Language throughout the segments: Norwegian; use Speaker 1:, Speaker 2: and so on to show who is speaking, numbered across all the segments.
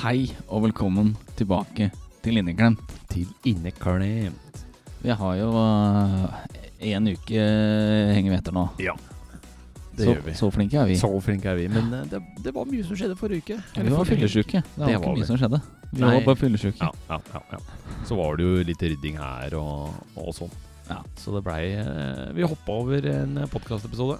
Speaker 1: Hei og velkommen tilbake til Inneklemt.
Speaker 2: til inneklemt.
Speaker 1: Vi har jo én uke eh, henger vi etter nå.
Speaker 2: Ja, det
Speaker 1: så,
Speaker 2: gjør vi.
Speaker 1: Så flinke er vi.
Speaker 2: Så flinke er vi. Men eh, det, det var mye som skjedde forrige uke.
Speaker 1: vi var fyllesyke. Det var
Speaker 2: Det
Speaker 1: ikke
Speaker 2: var vi.
Speaker 1: mye som skjedde. Vi
Speaker 2: Nei.
Speaker 1: var bare fyllesyke.
Speaker 2: Ja, ja, ja, ja. Så var det jo litt rydding her og, og sånn.
Speaker 1: Ja.
Speaker 2: Så det blei eh, Vi hoppa over en podkastepisode.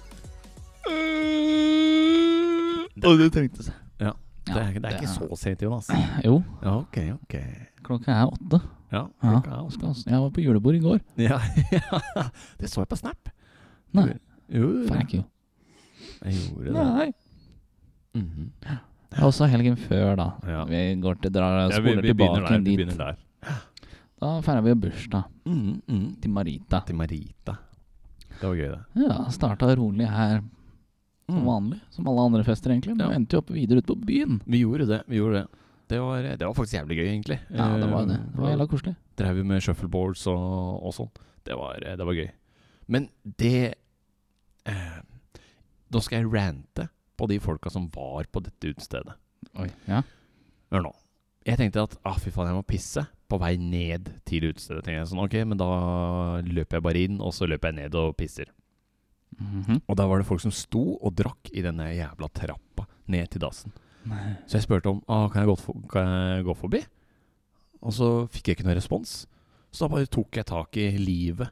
Speaker 1: Og det trengte seg.
Speaker 2: Ja. Det, er- det er ikke så sent, Jonas.
Speaker 1: Jo,
Speaker 2: Ja, ok, ok.
Speaker 1: klokka er åtte.
Speaker 2: Ja,
Speaker 1: Ja.
Speaker 2: klokka er
Speaker 1: Jeg
Speaker 2: åtte.
Speaker 1: skal- Jeg var på julebord i går.
Speaker 2: ja. det så jeg på Snap.
Speaker 1: Nei,
Speaker 2: Jo,
Speaker 1: fuck you.
Speaker 2: jeg gjorde det.
Speaker 1: Nei.
Speaker 2: Mhm.
Speaker 1: Det er også helgen før, da.
Speaker 2: Ja.
Speaker 1: Vi går til, drar,
Speaker 2: Ja, vi,
Speaker 1: spoler
Speaker 2: vi begynner
Speaker 1: tilbake
Speaker 2: der. Vi
Speaker 1: dit.
Speaker 2: begynner der.
Speaker 1: Da feirer vi bursdag
Speaker 2: Mhm, mhm.
Speaker 1: til Marita.
Speaker 2: Til Marita. Det var gøy, det.
Speaker 1: Ja, Starta rolig her
Speaker 2: Mm.
Speaker 1: som vanlig, som alle andre fester egentlig. Men
Speaker 2: Ja.
Speaker 1: vi endte jo opp videre ut på byen.
Speaker 2: Vi gjorde det. vi gjorde Det Det var, det var faktisk jævlig gøy, egentlig.
Speaker 1: Ja, det var det. Det var
Speaker 2: Eh,
Speaker 1: jævla koselig.
Speaker 2: Drev vi med shuffleboards og, og sånn. Det var, det var gøy. Men det eh, Da skal jeg rante på de folka som var på dette utestedet.
Speaker 1: Oi, ja.
Speaker 2: Hør nå. Jeg tenkte at ah, fy faen, jeg må pisse på vei ned til utestedet. Tenkte jeg sånn, ok, Men da løper jeg bare inn, og så løper jeg ned og pisser.
Speaker 1: Mhm.
Speaker 2: Og da var det folk som sto og drakk i denne jævla trappa ned til dassen.
Speaker 1: Nei.
Speaker 2: Så jeg spurte om ah, kan, jeg gå for, kan jeg gå forbi. Og så fikk jeg ikke noe respons. Så da bare tok jeg tak i livet.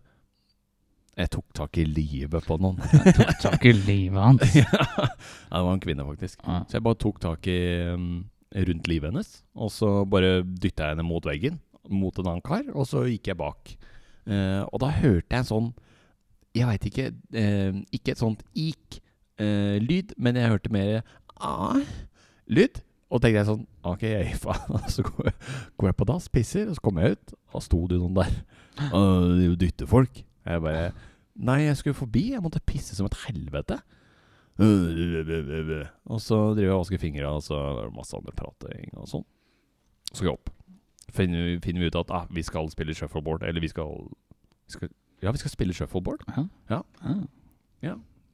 Speaker 2: Jeg tok tak i livet på noen.
Speaker 1: Tok tak i livet hans.
Speaker 2: ja, det var en kvinne, faktisk.
Speaker 1: Ja.
Speaker 2: Så jeg bare tok tak i mm, rundt livet hennes. Og så bare dytta jeg henne mot veggen, mot en annen kar, og så gikk jeg bak. Eh, og da hørte jeg en sånn Jeg veit ikke eh, Ikke et sånt ik-lyd, men jeg hørte mer a-lyd. Og tenkte jeg sånn OK, faen. Så går jeg, går jeg på dass, pisser, og så kommer jeg ut. Og sto det noen der og dytter folk. Jeg bare Nei, jeg skulle forbi. Jeg måtte pisse som et helvete. Og så driver jeg og vasker fingra, og så er det masse andre prating og sånn. Så skal jeg opp. Finner, vi- finner vi ut at ah, vi skal spille shuffleboard, eller vi skal, vi skal Ja, vi skal spille shuffleboard.
Speaker 1: Ja.
Speaker 2: Ja.
Speaker 1: Ja.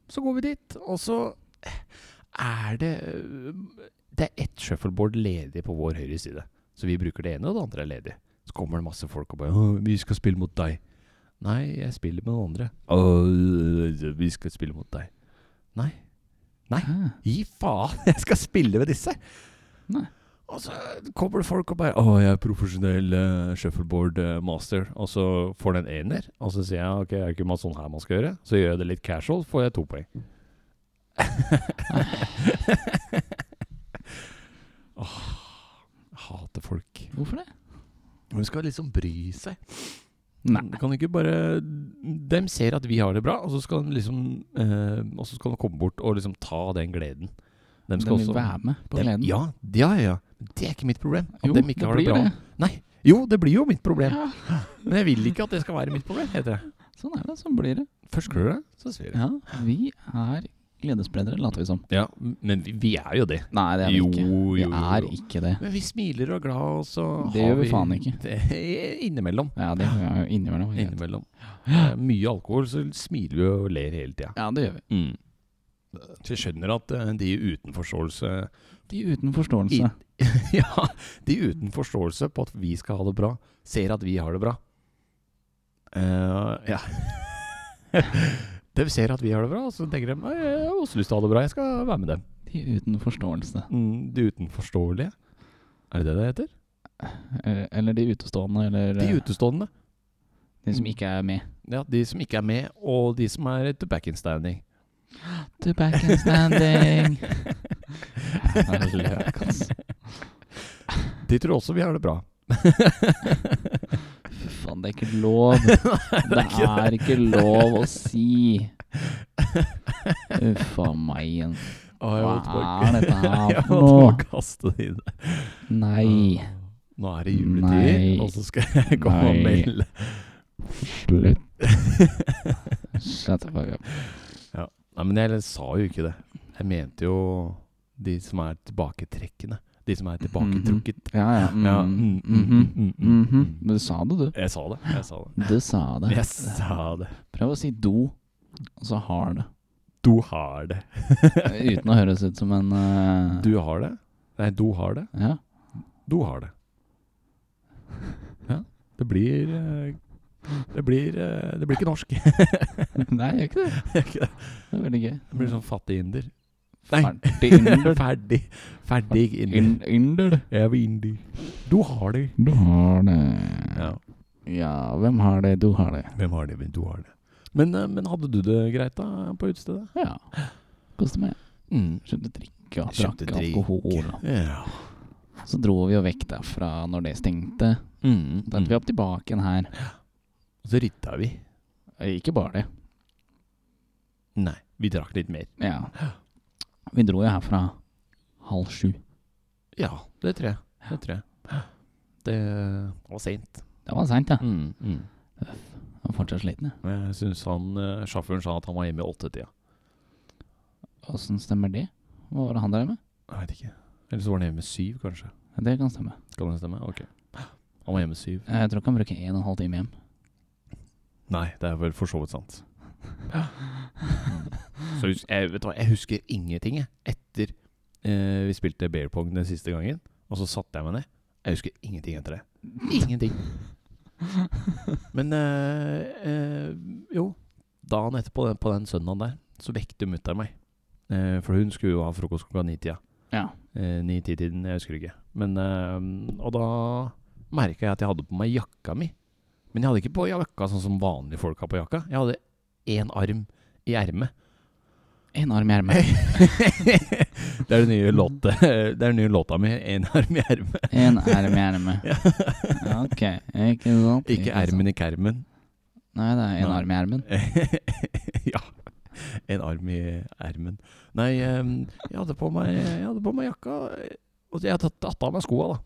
Speaker 2: Så går vi dit, og så er det Det er ett shuffleboard ledig på vår høyre side. Så vi bruker det ene, og det andre er ledig. Så kommer det masse folk og bare «Åh, 'Vi skal spille mot deg'. Nei, jeg spiller med noen andre. «Åh, vi skal spille mot deg. Nei.
Speaker 1: Hæ?
Speaker 2: Gi faen, jeg skal spille med disse!
Speaker 1: Nei.
Speaker 2: Og så kommer det folk og bare 'Å, jeg er profesjonell eh, shuffleboard eh, master', og så får den ener. Og så sier jeg 'Ok, er det ikke masse sånn her man skal gjøre?' Så gjør jeg det litt casual, får jeg to poeng. Åh, jeg hater folk.
Speaker 1: Hvorfor det?
Speaker 2: Hun skal liksom bry seg.
Speaker 1: Nei.
Speaker 2: Du Kan ikke bare Dem ser at vi har det bra, og så skal de liksom eh, Og så skal de komme bort og liksom ta den gleden. Dem
Speaker 1: De
Speaker 2: skal
Speaker 1: vil
Speaker 2: også-
Speaker 1: være med på
Speaker 2: dem-
Speaker 1: gleden.
Speaker 2: Ja, ja, ja, ja. Det er ikke mitt problem. At
Speaker 1: Jo,
Speaker 2: dem ikke
Speaker 1: det
Speaker 2: har det
Speaker 1: blir
Speaker 2: bra.
Speaker 1: det.
Speaker 2: Nei. Jo, det blir jo mitt problem.
Speaker 1: Ja.
Speaker 2: Men jeg vil ikke at det skal være mitt problem, heter det.
Speaker 1: Sånn er det. Sånn blir det.
Speaker 2: Først klør det, så svir det.
Speaker 1: Ja, vi er gledesspredere, later vi som.
Speaker 2: Ja, men vi, vi er jo det.
Speaker 1: Nei, det er vi
Speaker 2: Jo,
Speaker 1: ikke.
Speaker 2: jo,
Speaker 1: Vi
Speaker 2: jo,
Speaker 1: er
Speaker 2: jo.
Speaker 1: ikke det.
Speaker 2: Men vi smiler og er glad, og så
Speaker 1: Det
Speaker 2: har
Speaker 1: gjør vi faen ikke.
Speaker 2: Det, innimellom.
Speaker 1: Ja, det er jo innimellom. ikke sant?
Speaker 2: Innimellom. Det er mye alkohol, så smiler vi og ler hele tida.
Speaker 1: Ja, det gjør vi.
Speaker 2: Mm. Så jeg skjønner at eh, de uten forståelse
Speaker 1: De uten forståelse.
Speaker 2: Ja, de uten forståelse på at vi skal ha det bra, ser at vi har det bra. Eh, ja. de ser at vi har det bra, og så tenker de «Nei, jeg har også lyst til å ha det bra, jeg skal være med dem.
Speaker 1: De uten forståelse.
Speaker 2: Mm, de utenforståelige. Er det det det heter?
Speaker 1: Eh, Eller de utestående, eller
Speaker 2: De
Speaker 1: eh,
Speaker 2: utestående.
Speaker 1: de som ikke er med.
Speaker 2: Ja, De som ikke er med, og de som er to back in standing.
Speaker 1: To back and standing. Løk, ass.
Speaker 2: De tror også vi har det bra.
Speaker 1: Fy faen, det er ikke lov. Det er ikke lov å si. Uff a meg. igjen.
Speaker 2: Å, jeg
Speaker 1: Hva
Speaker 2: holdt på å-
Speaker 1: er dette her
Speaker 2: Jeg
Speaker 1: for
Speaker 2: holdt på
Speaker 1: noe?
Speaker 2: å kaste det i det.
Speaker 1: Nei.
Speaker 2: Nå er det juletid,
Speaker 1: Nei.
Speaker 2: og så skal jeg komme og
Speaker 1: Nei.
Speaker 2: melde
Speaker 1: Slutt. Shut the fuck up.
Speaker 2: Nei, men jeg sa jo ikke det. Jeg mente jo de som er tilbaketrekkende. De som er tilbaketrukket.
Speaker 1: Ja, ja. Mm,
Speaker 2: Ja.
Speaker 1: mhm,
Speaker 2: Mm, mm, mm,
Speaker 1: mhm.
Speaker 2: mm.
Speaker 1: Men du sa det, du.
Speaker 2: Jeg sa det. Jeg sa det.
Speaker 1: Du sa det.
Speaker 2: Jeg sa det.
Speaker 1: Prøv å si do, og så har det.
Speaker 2: Du har det.
Speaker 1: Uten å høres ut som en eh,
Speaker 2: Du har det? Nei, du har det.
Speaker 1: Ja.
Speaker 2: Du har det. Ja, det blir eh, Det blir, eh, det blir ikke norsk. det
Speaker 1: Nei, jeg gjør ikke det.
Speaker 2: er ikke det.
Speaker 1: Det er veldig gøy.
Speaker 2: Det blir sånn fattig inder. Nei.
Speaker 1: Ferdig inder.
Speaker 2: Ferdig. Ferdig inder.
Speaker 1: In- Inder.
Speaker 2: Jeg er inder. Du har det.
Speaker 1: Du har det.
Speaker 2: Ja.
Speaker 1: Ja, hvem har det? Du har det.
Speaker 2: Hvem har det? Men Du har det. Men, eh, men hadde du det greit da på utestedet?
Speaker 1: Ja. Koste meg.
Speaker 2: Mm.
Speaker 1: Kjøpte drikke og
Speaker 2: Kjøpte
Speaker 1: drakk
Speaker 2: drikk.
Speaker 1: alkohol.
Speaker 2: Ja.
Speaker 1: Så dro vi jo vekk derfra når det stengte.
Speaker 2: Mm.
Speaker 1: Da er vi opp tilbake igjen her. Eh,
Speaker 2: Så ritta vi.
Speaker 1: Ikke bare det.
Speaker 2: Nei, vi drakk litt mer.
Speaker 1: Ja. Vi dro jo herfra halv sju.
Speaker 2: Ja, det tror jeg. Det tror jeg. Det var seint.
Speaker 1: Det var seint, ja.
Speaker 2: Mm. Mm.
Speaker 1: Jeg var fortsatt sliten, jeg.
Speaker 2: Jeg syns han eh, sjåføren sa at han var hjemme i åttetida.
Speaker 1: Åssen stemmer det? Hva var det han drev med?
Speaker 2: Jeg vet ikke. Eller så var han hjemme syv, kanskje.
Speaker 1: Ja, Det kan stemme. Eh,
Speaker 2: Kan det stemme? Ok. Han var hjemme syv.
Speaker 1: Jeg tror ikke han bruker en og en halv time hjem.
Speaker 2: Nei, det er vel for så vidt sant. Mm. Så hus jeg, vet du hva, jeg husker ingenting, jeg. Etter eh, vi spilte bear pong den siste gangen, og så satte jeg meg ned. Jeg husker ingenting etter det. Ingenting. Men eh, eh, jo, dagen etterpå, den- på den søndagen der, så vekte mutter'n meg. Eh, for hun skulle jo ha frokost klokka ni-tida.
Speaker 1: Ja.
Speaker 2: Eh, Ni-ti-tiden, jeg husker ikke. Men, eh, og da merka jeg at jeg hadde på meg jakka mi. Men jeg hadde ikke på jakka sånn som vanlige folk har på jakka. Jeg hadde én arm i ermet.
Speaker 1: En arm i ermet.
Speaker 2: det er den nye låta, det er den nye låta mi. Én arm i ermet.
Speaker 1: En erm i ermet. Ja, ok, ikke sant.
Speaker 2: Ikke
Speaker 1: sant.
Speaker 2: ermen i kermen.
Speaker 1: Nei, det er en
Speaker 2: Nei.
Speaker 1: arm i ermen.
Speaker 2: ja. En arm i ermen. Nei, eh, jeg hadde på meg, jeg hadde på meg jakka. eh, Og jeg hadde tatt- tatt av meg skoa, da.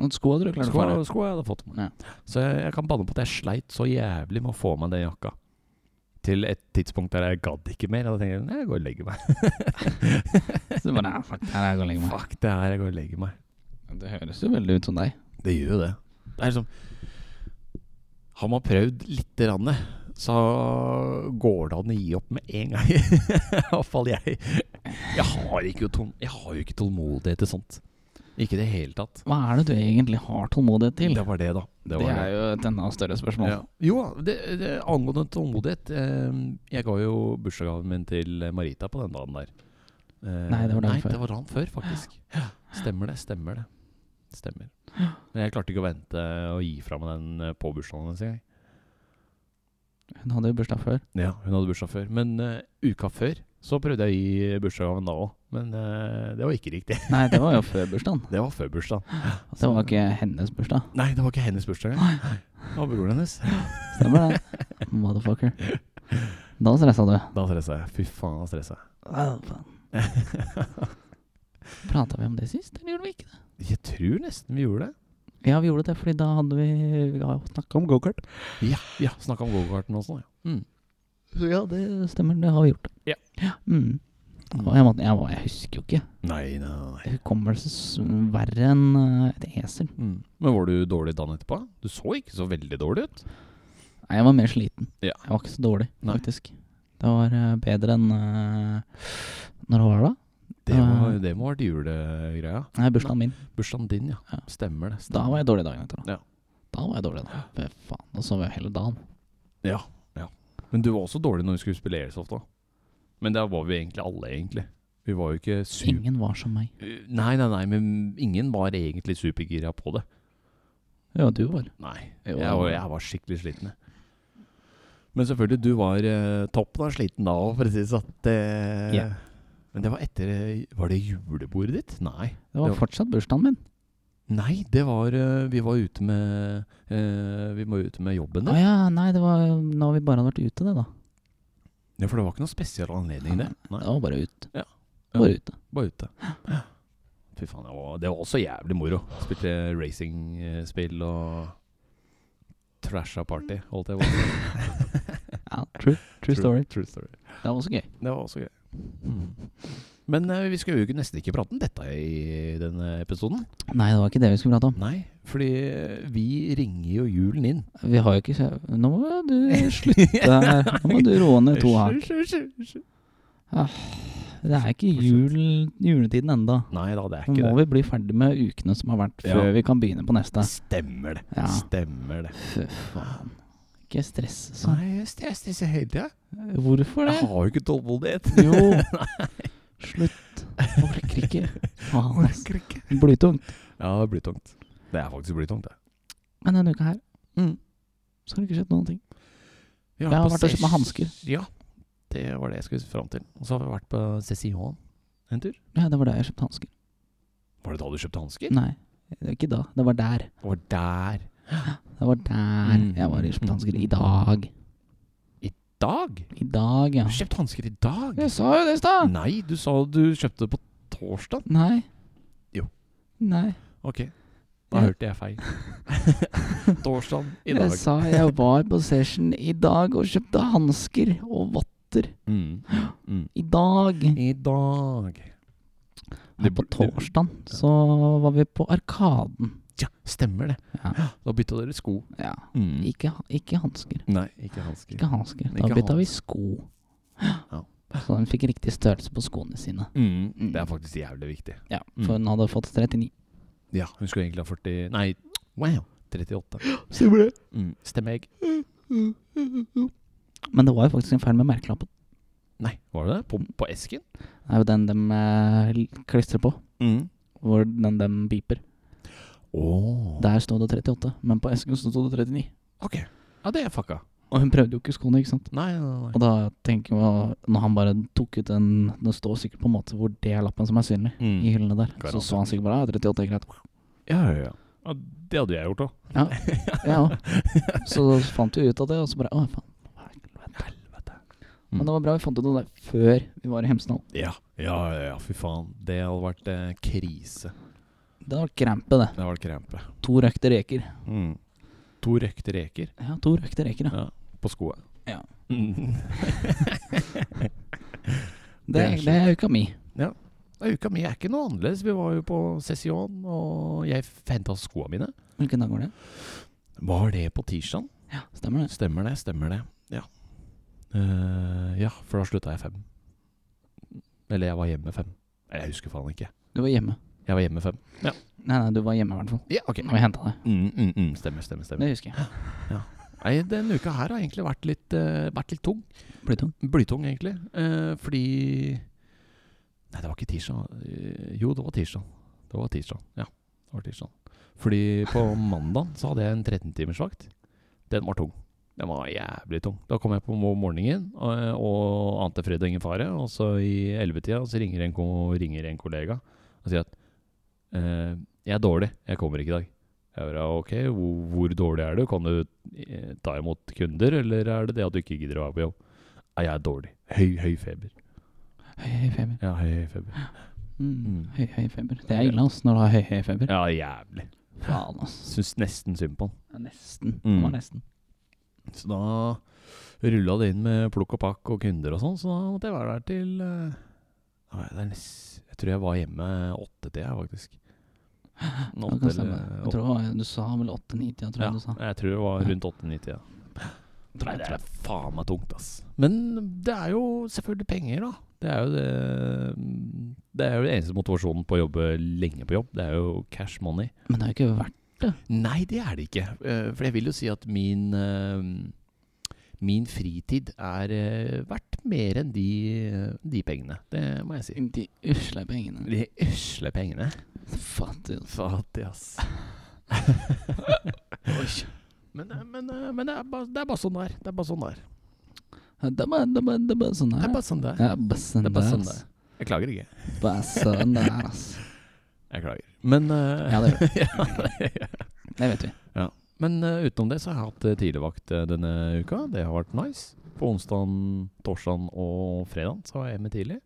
Speaker 1: Og Skoa du klarte å få.
Speaker 2: Skoa, skoa jeg hadde fått med. Så jeg, jeg kan banne på at jeg sleit så jævlig med å få av meg den jakka. Til et tidspunkt der jeg gadd ikke mer. Og da tenkte jeg "Nei, jeg går og legger meg.
Speaker 1: Så bare, ja, fuck, her er jeg og legger meg.
Speaker 2: Fuck det her, jeg går og legger meg.
Speaker 1: Det høres jo veldig ut som deg.
Speaker 2: Det gjør jo det. Det er liksom Har man prøvd lite grann, så går det an å gi opp med en gang. Iallfall jeg. Jeg har, ikke, tål- jeg har jo ikke tålmodighet til sånt. Ikke i det hele tatt.
Speaker 1: Hva er det du egentlig har tålmodighet til?
Speaker 2: Det var det, da.
Speaker 1: Det,
Speaker 2: var
Speaker 1: er jo et enda større spørsmål.
Speaker 2: Ja. Jo, det, det, angående tålmodighet eh, Jeg ga jo bursdagsgaven min til Marita på den dagen der. Eh,
Speaker 1: Nei, det var dagen
Speaker 2: nei,
Speaker 1: før.
Speaker 2: det var dagen før, faktisk. Stemmer det, stemmer det. Stemmer. Men jeg klarte ikke å vente å gi fra meg den eh, på bursdagen hennes. jeg.
Speaker 1: Hun hadde jo bursdag før.
Speaker 2: Ja, hun hadde bursdag før. Men eh, uka før så prøvde jeg å gi bursdagsgaven da òg. Men eh, det var ikke riktig.
Speaker 1: Nei, det var jo før bursdagen.
Speaker 2: Det var før bursdagen.
Speaker 1: Det var ikke hennes bursdag.
Speaker 2: Nei, det var ikke hennes bursdag. engang. Det var broren hennes.
Speaker 1: Stemmer det? Motherfucker. Da stressa du.
Speaker 2: Da stressa jeg. Fy faen, da stressa jeg.
Speaker 1: Prata vi om det sist, eller gjorde vi ikke det?
Speaker 2: Jeg tror nesten vi gjorde det.
Speaker 1: Ja, vi gjorde det, fordi da hadde vi, vi snakka om gokart.
Speaker 2: Ja, ja snakka om gokarten også. Ja. Mm.
Speaker 1: Så ja, det stemmer, det har vi gjort.
Speaker 2: Ja.
Speaker 1: Mm. Og jeg, måtte, jeg, var- jeg husker jo ikke.
Speaker 2: Nei, nei, nei.
Speaker 1: Hukommelse s- verre enn eh, et esel.
Speaker 2: Mm. Men var du dårlig dagen etterpå? Du så ikke så veldig dårlig ut.
Speaker 1: Nei, jeg var mer sliten.
Speaker 2: Ja.
Speaker 1: Jeg var ikke så dårlig,
Speaker 2: Nei.
Speaker 1: faktisk. Det var eh, bedre enn eh, Når var det, da?
Speaker 2: Det må, det må ha vært julegreia.
Speaker 1: Nei, bursdagen min.
Speaker 2: Bursdagen din, ja.
Speaker 1: Ja.
Speaker 2: Stemmer det.
Speaker 1: Da
Speaker 2: Stemmer.
Speaker 1: var jeg dårlig dagen etter. Da,
Speaker 2: Ja.
Speaker 1: da var jeg dårlig, da. Fy faen. Og så var jeg hele dagen.
Speaker 2: Ja, ja. Men du var også dårlig når vi skulle spille Airsoft, da. Men der var vi egentlig alle, egentlig. Vi var jo ikke super...
Speaker 1: Ingen var som meg.
Speaker 2: Nei, nei, nei, men ingen var egentlig supergira på det.
Speaker 1: Ja, du var.
Speaker 2: Nei,
Speaker 1: Jo,
Speaker 2: jeg
Speaker 1: jeg
Speaker 2: var,
Speaker 1: var-
Speaker 2: jeg var skikkelig sliten. jeg. Men selvfølgelig, du var eh, toppen av sliten da òg, for å si det sånn. Det-
Speaker 1: Ja.
Speaker 2: Men det var etter eh, Var det julebordet ditt? Nei.
Speaker 1: Det var
Speaker 2: Det
Speaker 1: fortsatt bursdagen min.
Speaker 2: Nei, det var eh, Vi var ute med eh, Vi var ute med jobben
Speaker 1: Å
Speaker 2: din.
Speaker 1: ja, nei, det var når vi bare hadde vært ute, det, da.
Speaker 2: Ja, for det var ikke noen spesiell anledning, det. Nei,
Speaker 1: Det var bare ut.
Speaker 2: Ja.
Speaker 1: Bare ute.
Speaker 2: Bare ute. Fy faen, det var, det var også jævlig moro. Spilte racingspill og trasha party, holdt jeg på å si.
Speaker 1: Ja, true, true story.
Speaker 2: True story.
Speaker 1: Det var også gøy.
Speaker 2: Det var også gøy. Mm. Men eh, vi skal jo ikke- nesten ikke prate om dette i denne episoden.
Speaker 1: Nei, det var ikke det vi skulle prate om.
Speaker 2: Nei, fordi eh, vi ringer jo julen inn.
Speaker 1: Vi har jo ikke kjø- Nå må du slutte. Nå må du roe ned to hakk.
Speaker 2: Unnskyld, unnskyld, unnskyld.
Speaker 1: Ah, Det er ikke jul, juletiden enda.
Speaker 2: Nei da, det er
Speaker 1: Nå
Speaker 2: ikke
Speaker 1: må
Speaker 2: det.
Speaker 1: vi bli ferdig med ukene som har vært, før
Speaker 2: Ja.
Speaker 1: vi kan begynne på neste.
Speaker 2: Stemmer det.
Speaker 1: Ja.
Speaker 2: Stemmer det.
Speaker 1: Fy faen. Ikke stress sånn.
Speaker 2: Nei, jeg stresser hele tida.
Speaker 1: Hvorfor
Speaker 2: Jeg
Speaker 1: det?
Speaker 2: har jo ikke tålmodighet.
Speaker 1: Jo. Slutt. Orker ikke. Faen, ass.
Speaker 2: Orker ikke.
Speaker 1: Blytungt.
Speaker 2: Ja, det blir tungt. Det er faktisk blytungt, det.
Speaker 1: Men denne uka her mm, så har det ikke skjedd noen ting.
Speaker 2: Vi
Speaker 1: Jeg har
Speaker 2: på
Speaker 1: vært og kjøpt meg
Speaker 2: ses-
Speaker 1: hansker.
Speaker 2: Ja, det var det jeg skulle fram til. Og så har vi vært på Cécillon en tur.
Speaker 1: Ja, det var da jeg kjøpte hansker.
Speaker 2: Var det da du kjøpte hansker?
Speaker 1: Nei, det var ikke da. Det var der.
Speaker 2: Det var der.
Speaker 1: Det var der
Speaker 2: Mm.
Speaker 1: jeg var og kjøpte hansker. I dag.
Speaker 2: Dag?
Speaker 1: I dag, ja.
Speaker 2: Du kjøpte hansker i dag?
Speaker 1: Jeg sa jo det i stad!
Speaker 2: Nei, du sa du kjøpte det på torsdag.
Speaker 1: Nei.
Speaker 2: Jo.
Speaker 1: Nei.
Speaker 2: Ok,
Speaker 1: da Ja.
Speaker 2: hørte jeg feil. Torsdag
Speaker 1: Jeg sa jeg var på session i dag og kjøpte hansker og votter.
Speaker 2: Mm. Mm.
Speaker 1: I dag.
Speaker 2: I dag.
Speaker 1: Her på torsdag så var vi på Arkaden.
Speaker 2: Ja, stemmer det.
Speaker 1: Ja.
Speaker 2: Da bytta dere sko.
Speaker 1: ja.
Speaker 2: Mm.
Speaker 1: Ikke, ikke hansker.
Speaker 2: Nei, ikke hansker.
Speaker 1: Ikke hansker. Da
Speaker 2: Ikke
Speaker 1: bytta vi
Speaker 2: hansker.
Speaker 1: sko.
Speaker 2: Ja.
Speaker 1: Så den fikk riktig størrelse på skoene sine.
Speaker 2: Mm.
Speaker 1: Mm.
Speaker 2: Det er faktisk jævlig viktig.
Speaker 1: Ja,
Speaker 2: Mm.
Speaker 1: For hun hadde fått 39.
Speaker 2: Ja, hun skulle egentlig ha 40 Nei, wow, 38.
Speaker 1: Stemmer det.
Speaker 2: Mm. Stemmer jeg.
Speaker 1: Men det var jo faktisk en feil med merkelappen.
Speaker 2: Nei, var det det? På, på esken?
Speaker 1: Det er jo den de eh, klistrer på.
Speaker 2: Mm.
Speaker 1: Hvor den de beeper. Der sto det 38, men på esken så sto det 39.
Speaker 2: Ok. Ja, det er fucka.
Speaker 1: Og hun prøvde jo ikke skoene, ikke sant?
Speaker 2: Nei, nei,
Speaker 1: Og da tenker jeg, når han bare tok ut den Det står sikkert på en måte hvor det er lappen som er synlig.
Speaker 2: Mm.
Speaker 1: I hyllene der. Så
Speaker 2: Garantert.
Speaker 1: så han sikkert bare ja, 38 er greit.
Speaker 2: Ja, ja, ja. ja det hadde jeg gjort òg.
Speaker 1: Ja, ja. Så fant vi ut av det, og så bare å faen.
Speaker 2: Helvete. Mm.
Speaker 1: Men det var bra vi fant ut av det før vi var i Hemsedal.
Speaker 2: Ja, ja, ja, ja, fy faen. Det hadde vært eh, krise.
Speaker 1: Det var krampe, det.
Speaker 2: Det hadde vært krempe.
Speaker 1: To røkte reker.
Speaker 2: Mm. To røkte reker
Speaker 1: Ja, to røkte reker, ja.
Speaker 2: ja. på skoa.
Speaker 1: Ja.
Speaker 2: Mm.
Speaker 1: Det,
Speaker 2: er
Speaker 1: det er uka mi.
Speaker 2: Ja, Uka mi er ikke noe annerledes. Vi var jo på session, og jeg henta skoa mine.
Speaker 1: Hvilken dag var det?
Speaker 2: Var det på tirsdag?
Speaker 1: Ja, stemmer det.
Speaker 2: Stemmer det, stemmer det. Ja, Eh, ja for da slutta jeg fem. Eller jeg var hjemme fem. Eller Jeg husker faen ikke.
Speaker 1: Du var hjemme.
Speaker 2: Jeg var hjemme fem.
Speaker 1: Nei, nei, du var hjemme i hvert fall.
Speaker 2: Ja, ok.
Speaker 1: Når vi henta deg.
Speaker 2: Mm, mm, mm. Stemmer, stemmer, stemmer.
Speaker 1: Det husker jeg.
Speaker 2: Nei, denne uka her har egentlig vært litt, eh, vært litt tung.
Speaker 1: Blytung.
Speaker 2: Blytung, egentlig. Eh, fordi Nei, det var ikke tirsdag. Eh, Jo, det var tirsdag. Det var tirsdag. Ja, det var tirsdag. Fordi på mandag så hadde jeg en 13-timersvakt. Den var tung. Den var jævlig tung. Da kom jeg på om morgenen eh, og ante fred og ingen fare. Og så i 11-tida så ringer en, ko- ringer en kollega og sier at eh, jeg er dårlig, jeg kommer ikke i dag. Jeg bare, ok, hvor, hvor dårlig er du? Kan du eh, ta imot kunder, eller er det det at du ikke gidder å være på jobb? Nei, jeg er dårlig. Høy, høy feber.
Speaker 1: Høy, høy feber.
Speaker 2: Ja, høy, høy feber.
Speaker 1: Mm.
Speaker 2: Mm.
Speaker 1: Høy, høy feber. Det er ille, ass, når du har høy, høy feber.
Speaker 2: Ja, jævlig.
Speaker 1: Faen, ass.
Speaker 2: Syns nesten synd på han.
Speaker 1: Ja, Nesten.
Speaker 2: Mm.
Speaker 1: Det var nesten.
Speaker 2: Så da rulla det inn med plukk og pakk og kunder og sånn, så da måtte jeg være der til eh, nei, det er nest, Jeg tror jeg var hjemme åttetida, faktisk. eh,
Speaker 1: Det kan stemme. Jeg tror det var, du sa vel 8-9-tida, tror jeg
Speaker 2: ja,
Speaker 1: du sa.
Speaker 2: jeg tror det var rundt åtte-ni-tida.
Speaker 1: Tror
Speaker 2: Nei,
Speaker 1: jeg,
Speaker 2: det
Speaker 1: tror
Speaker 2: er faen meg tungt, ass. Men det er jo selvfølgelig penger, da. Det er jo det mm, Det er jo det eneste motivasjonen på å jobbe lenge på jobb. Det er jo cash money.
Speaker 1: jeg. Men det har jo ikke vært
Speaker 2: Nei, det er det ikke. Eh, For jeg vil jo si at min eh, Min fritid er eh, verdt mer enn de, de pengene. Det må jeg si.
Speaker 1: de usle pengene.
Speaker 2: De øsle pengene.
Speaker 1: Fattig. altså. ass.
Speaker 2: Fattig, ass. men eh, men, eh, men det, er bare, det er bare sånn det er. Det er bare sånn det er.
Speaker 1: Det er bare- det er bare det er bare sånn
Speaker 2: Det
Speaker 1: der.
Speaker 2: er bare sånn det er.
Speaker 1: Det er bare sånn
Speaker 2: Det er
Speaker 1: der,
Speaker 2: bare sånn
Speaker 1: ass.
Speaker 2: det Jeg klager ikke.
Speaker 1: Bare sånn der, ass.
Speaker 2: Jeg klager. Men, eh,
Speaker 1: Ja, det gjør
Speaker 2: ja, det-
Speaker 1: Det vet vi.
Speaker 2: Men eh, utenom det så har jeg hatt eh, tidligvakt eh, denne uka. Det har vært nice. På onsdag, torsdag og fredag så var jeg hjemme tidlig.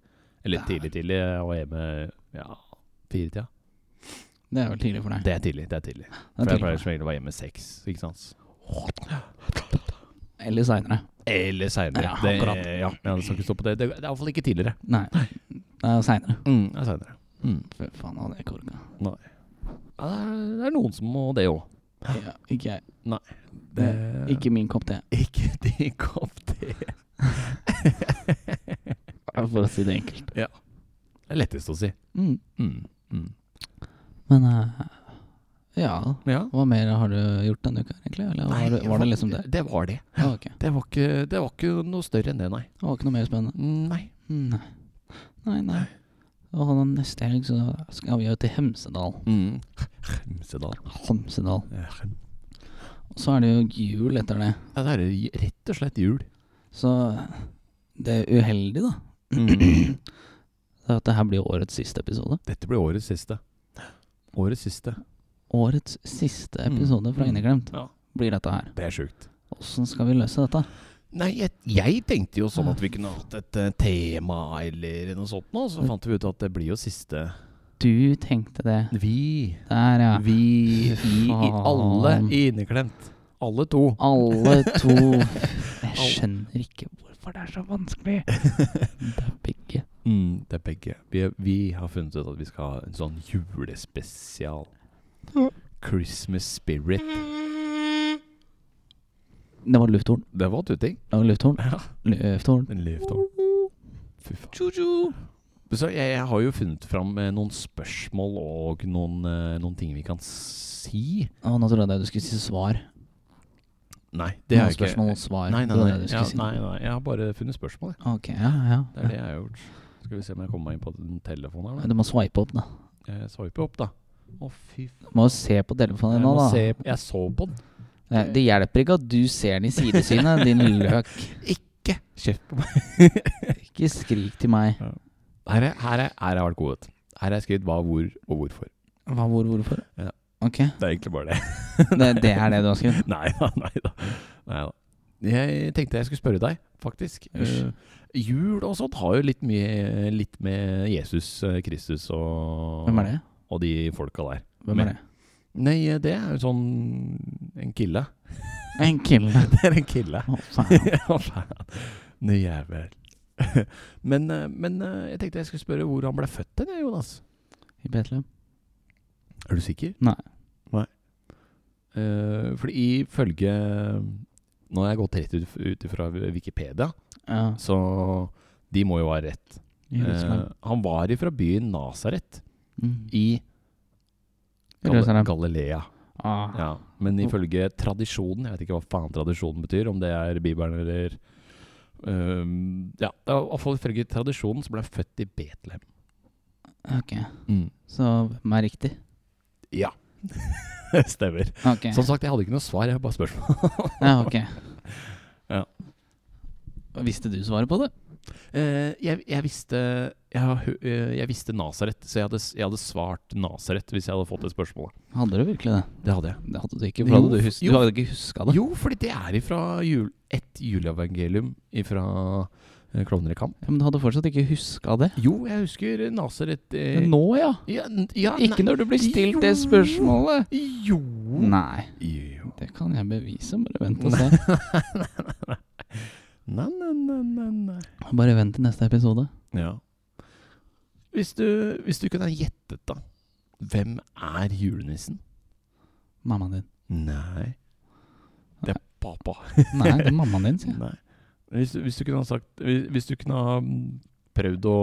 Speaker 2: Eller
Speaker 1: Det er-
Speaker 2: tidlig, tidlig. Jeg var hjemme ja, firetida.
Speaker 1: Det er vel tidlig for deg.
Speaker 2: Det er tidlig. det er tidlig
Speaker 1: Det
Speaker 2: For
Speaker 1: er
Speaker 2: jeg
Speaker 1: tidlig
Speaker 2: pleier
Speaker 1: for deg.
Speaker 2: som regel å være hjemme seks. ikke sant?
Speaker 1: Eller seinere.
Speaker 2: Eller seinere.
Speaker 1: Ja,
Speaker 2: det,
Speaker 1: akkurat.
Speaker 2: ja, ja, det skal ikke stå på det. Det, det er iallfall ikke tidligere.
Speaker 1: Nei, det er seinere.
Speaker 2: Mm, det er senere. Mm.
Speaker 1: Fy faen, hadde jeg ikke orka.
Speaker 2: Ja, det, er, det er noen som må det Eh, òg.
Speaker 1: Ja, ikke jeg.
Speaker 2: Det-
Speaker 1: Ikke min kopp te,
Speaker 2: Ikke drikk opp te.
Speaker 1: for å si det enkelt.
Speaker 2: Det er lettest å si.
Speaker 1: Mm.
Speaker 2: Mm. Mm.
Speaker 1: Men eh, ja
Speaker 2: Ja.
Speaker 1: Hva mer har du gjort denne uka, egentlig? Eller var,
Speaker 2: Nei,
Speaker 1: det, var det liksom det?
Speaker 2: Det var det.
Speaker 1: Ah, ok.
Speaker 2: Det var ikke, det var ikke noe større enn det, nei.
Speaker 1: Det var ikke noe mer spennende? Mm,
Speaker 2: Nei.
Speaker 1: Nei. Nei, nei. Og da neste helg så skal vi jo til Hemsedal.
Speaker 2: Mm. Hemsedal.
Speaker 1: Hamsedal.
Speaker 2: Ja, Hem-
Speaker 1: Og så er det jo jul etter det.
Speaker 2: Ja, det er jo rett og slett jul.
Speaker 1: Så det er uheldig, da.
Speaker 2: Mm.
Speaker 1: Det er at det her blir årets siste episode.
Speaker 2: Dette blir årets siste. Årets siste.
Speaker 1: Årets siste
Speaker 2: Mm.
Speaker 1: episode fra
Speaker 2: Mm.
Speaker 1: Inneglemt
Speaker 2: Ja.
Speaker 1: blir dette her.
Speaker 2: Det er sjukt.
Speaker 1: Åssen skal vi løse dette?
Speaker 2: Nei, jeg, jeg tenkte jo sånn at vi kunne hatt et eh, tema eller noe sånt nå, så fant vi ut at det blir jo siste
Speaker 1: Du tenkte det.
Speaker 2: Vi.
Speaker 1: Der, ja.
Speaker 2: Vi i, i
Speaker 1: Faen.
Speaker 2: alle i inneklemt. Alle to.
Speaker 1: Alle to Jeg skjønner ikke hvorfor det er så vanskelig. Det er begge.
Speaker 2: Mm, det er begge. Vi, vi har funnet ut at vi skal ha en sånn julespesial. Christmas spirit.
Speaker 1: Mm. Det var lufthorn.
Speaker 2: Det var tutting.
Speaker 1: Det var lufthorn.
Speaker 2: Ja.
Speaker 1: Lufthorn.
Speaker 2: En løvtårn. Fy faen. Så jeg, jeg har jo funnet fram eh, noen spørsmål og noen, eh, noen ting vi kan si.
Speaker 1: Å, nå trodde jeg du skulle si svar.
Speaker 2: Nei, det
Speaker 1: Noen
Speaker 2: er ikke
Speaker 1: spørsmål og svar.
Speaker 2: Nei, nei,
Speaker 1: Det var
Speaker 2: nei.
Speaker 1: det du
Speaker 2: Ja,
Speaker 1: skulle si.
Speaker 2: nei, nei. Jeg har bare funnet spørsmål. Jeg.
Speaker 1: Ok, ja, ja.
Speaker 2: Det er det jeg har gjort. Skal vi se om jeg kommer meg inn på den telefonen her.
Speaker 1: Du må swipe opp, da.
Speaker 2: da. Jeg swiper opp, da. Å, fy faen.
Speaker 1: Du må jo se på telefonen
Speaker 2: Jeg,
Speaker 1: din nå,
Speaker 2: må
Speaker 1: da.
Speaker 2: se, jeg så på den.
Speaker 1: Nei, Det hjelper ikke at du ser den i sidesynet, din løk.
Speaker 2: Ikke kjeft på meg.
Speaker 1: Ikke skrik til meg.
Speaker 2: Her er- her er- her har jeg vært god. vet du. Her har jeg skrevet hva, hvor og hvorfor.
Speaker 1: Hva, hvor, hvorfor?
Speaker 2: Ja.
Speaker 1: Ok,
Speaker 2: Det er egentlig bare det.
Speaker 1: det, det er det du har skrevet?
Speaker 2: Nei da, nei da. Nei da. Jeg tenkte jeg skulle spørre deg, faktisk.
Speaker 1: Usch.
Speaker 2: Eh, jul og sånt har jo litt, mye, litt med Jesus eh, Kristus og,
Speaker 1: Hvem er det?
Speaker 2: og de folka der.
Speaker 1: Hvem er det?
Speaker 2: Nei, eh, det er jo sånn en kille.
Speaker 1: En kille.
Speaker 2: Det er en kille.
Speaker 1: Å, faen.
Speaker 2: Å, faen. Nå jævel. men, eh, men eh, jeg tenkte jeg skulle spørre hvor han ble født hen, jeg, Jonas.
Speaker 1: I Betlehem.
Speaker 2: Er du sikker?
Speaker 1: Nei.
Speaker 2: Nei. Uh, fordi ifølge Nå har jeg gått rett ut, ut fra Wikipedia,
Speaker 1: Ja.
Speaker 2: så de må jo ha rett.
Speaker 1: I Jerusalem.
Speaker 2: Eh, han var ifra byen Nasaret
Speaker 1: Mm.
Speaker 2: Eh, i Gal-
Speaker 1: Jerusalem.
Speaker 2: Galilea.
Speaker 1: Ah.
Speaker 2: Ja. Men ifølge tradisjonen Jeg vet ikke hva faen tradisjonen betyr, om det er Bibelen eller um, Ja, det er i hvert fall ifølge tradisjonen så ble han født i Betlehem. Mm.
Speaker 1: Ok, så hvem er riktig?
Speaker 2: Ja. Stemmer.
Speaker 1: Ok.
Speaker 2: Sånn Som sagt, jeg hadde ikke noe svar, jeg har bare spørsmål.
Speaker 1: Ja, ok.
Speaker 2: Ja.
Speaker 1: Visste du svaret på det?
Speaker 2: Eh, jeg, jeg visste Jeg, har hø- eh, jeg visste Nasaret, så jeg hadde, s- jeg hadde svart Nasaret hvis jeg hadde fått det spørsmålet.
Speaker 1: Hadde du virkelig det?
Speaker 2: Det hadde jeg.
Speaker 1: Det hadde du ikke,
Speaker 2: Jo,
Speaker 1: for hadde du, hus
Speaker 2: jo.
Speaker 1: du hadde ikke huska det.
Speaker 2: Jo, fordi det er ifra jul, et juleevangelium fra eh, Klovner i kamp.
Speaker 1: Ja, men du hadde fortsatt ikke huska det.
Speaker 2: Jo, jeg husker Nasaret eh,
Speaker 1: Men nå, ja.
Speaker 2: ja, n- ja,
Speaker 1: Ikke når du blir stilt det
Speaker 2: Jo.
Speaker 1: spørsmålet.
Speaker 2: nei. Jo.
Speaker 1: Nei,
Speaker 2: Jo.
Speaker 1: det kan jeg bevise. Bare vent og se.
Speaker 2: Nei, nei, nei, nei, nei.
Speaker 1: Bare vent til neste episode.
Speaker 2: Ja. Hvis du, hvis du kunne ha gjettet, da. Hvem er julenissen?
Speaker 1: Mammaen din.
Speaker 2: Nei. Det er pappa.
Speaker 1: Nei, det er mammaen din, sier jeg.
Speaker 2: Nei. Hvis, du- hvis du kunne ha sagt Hvis, hvis du kunne ha mm, prøvd å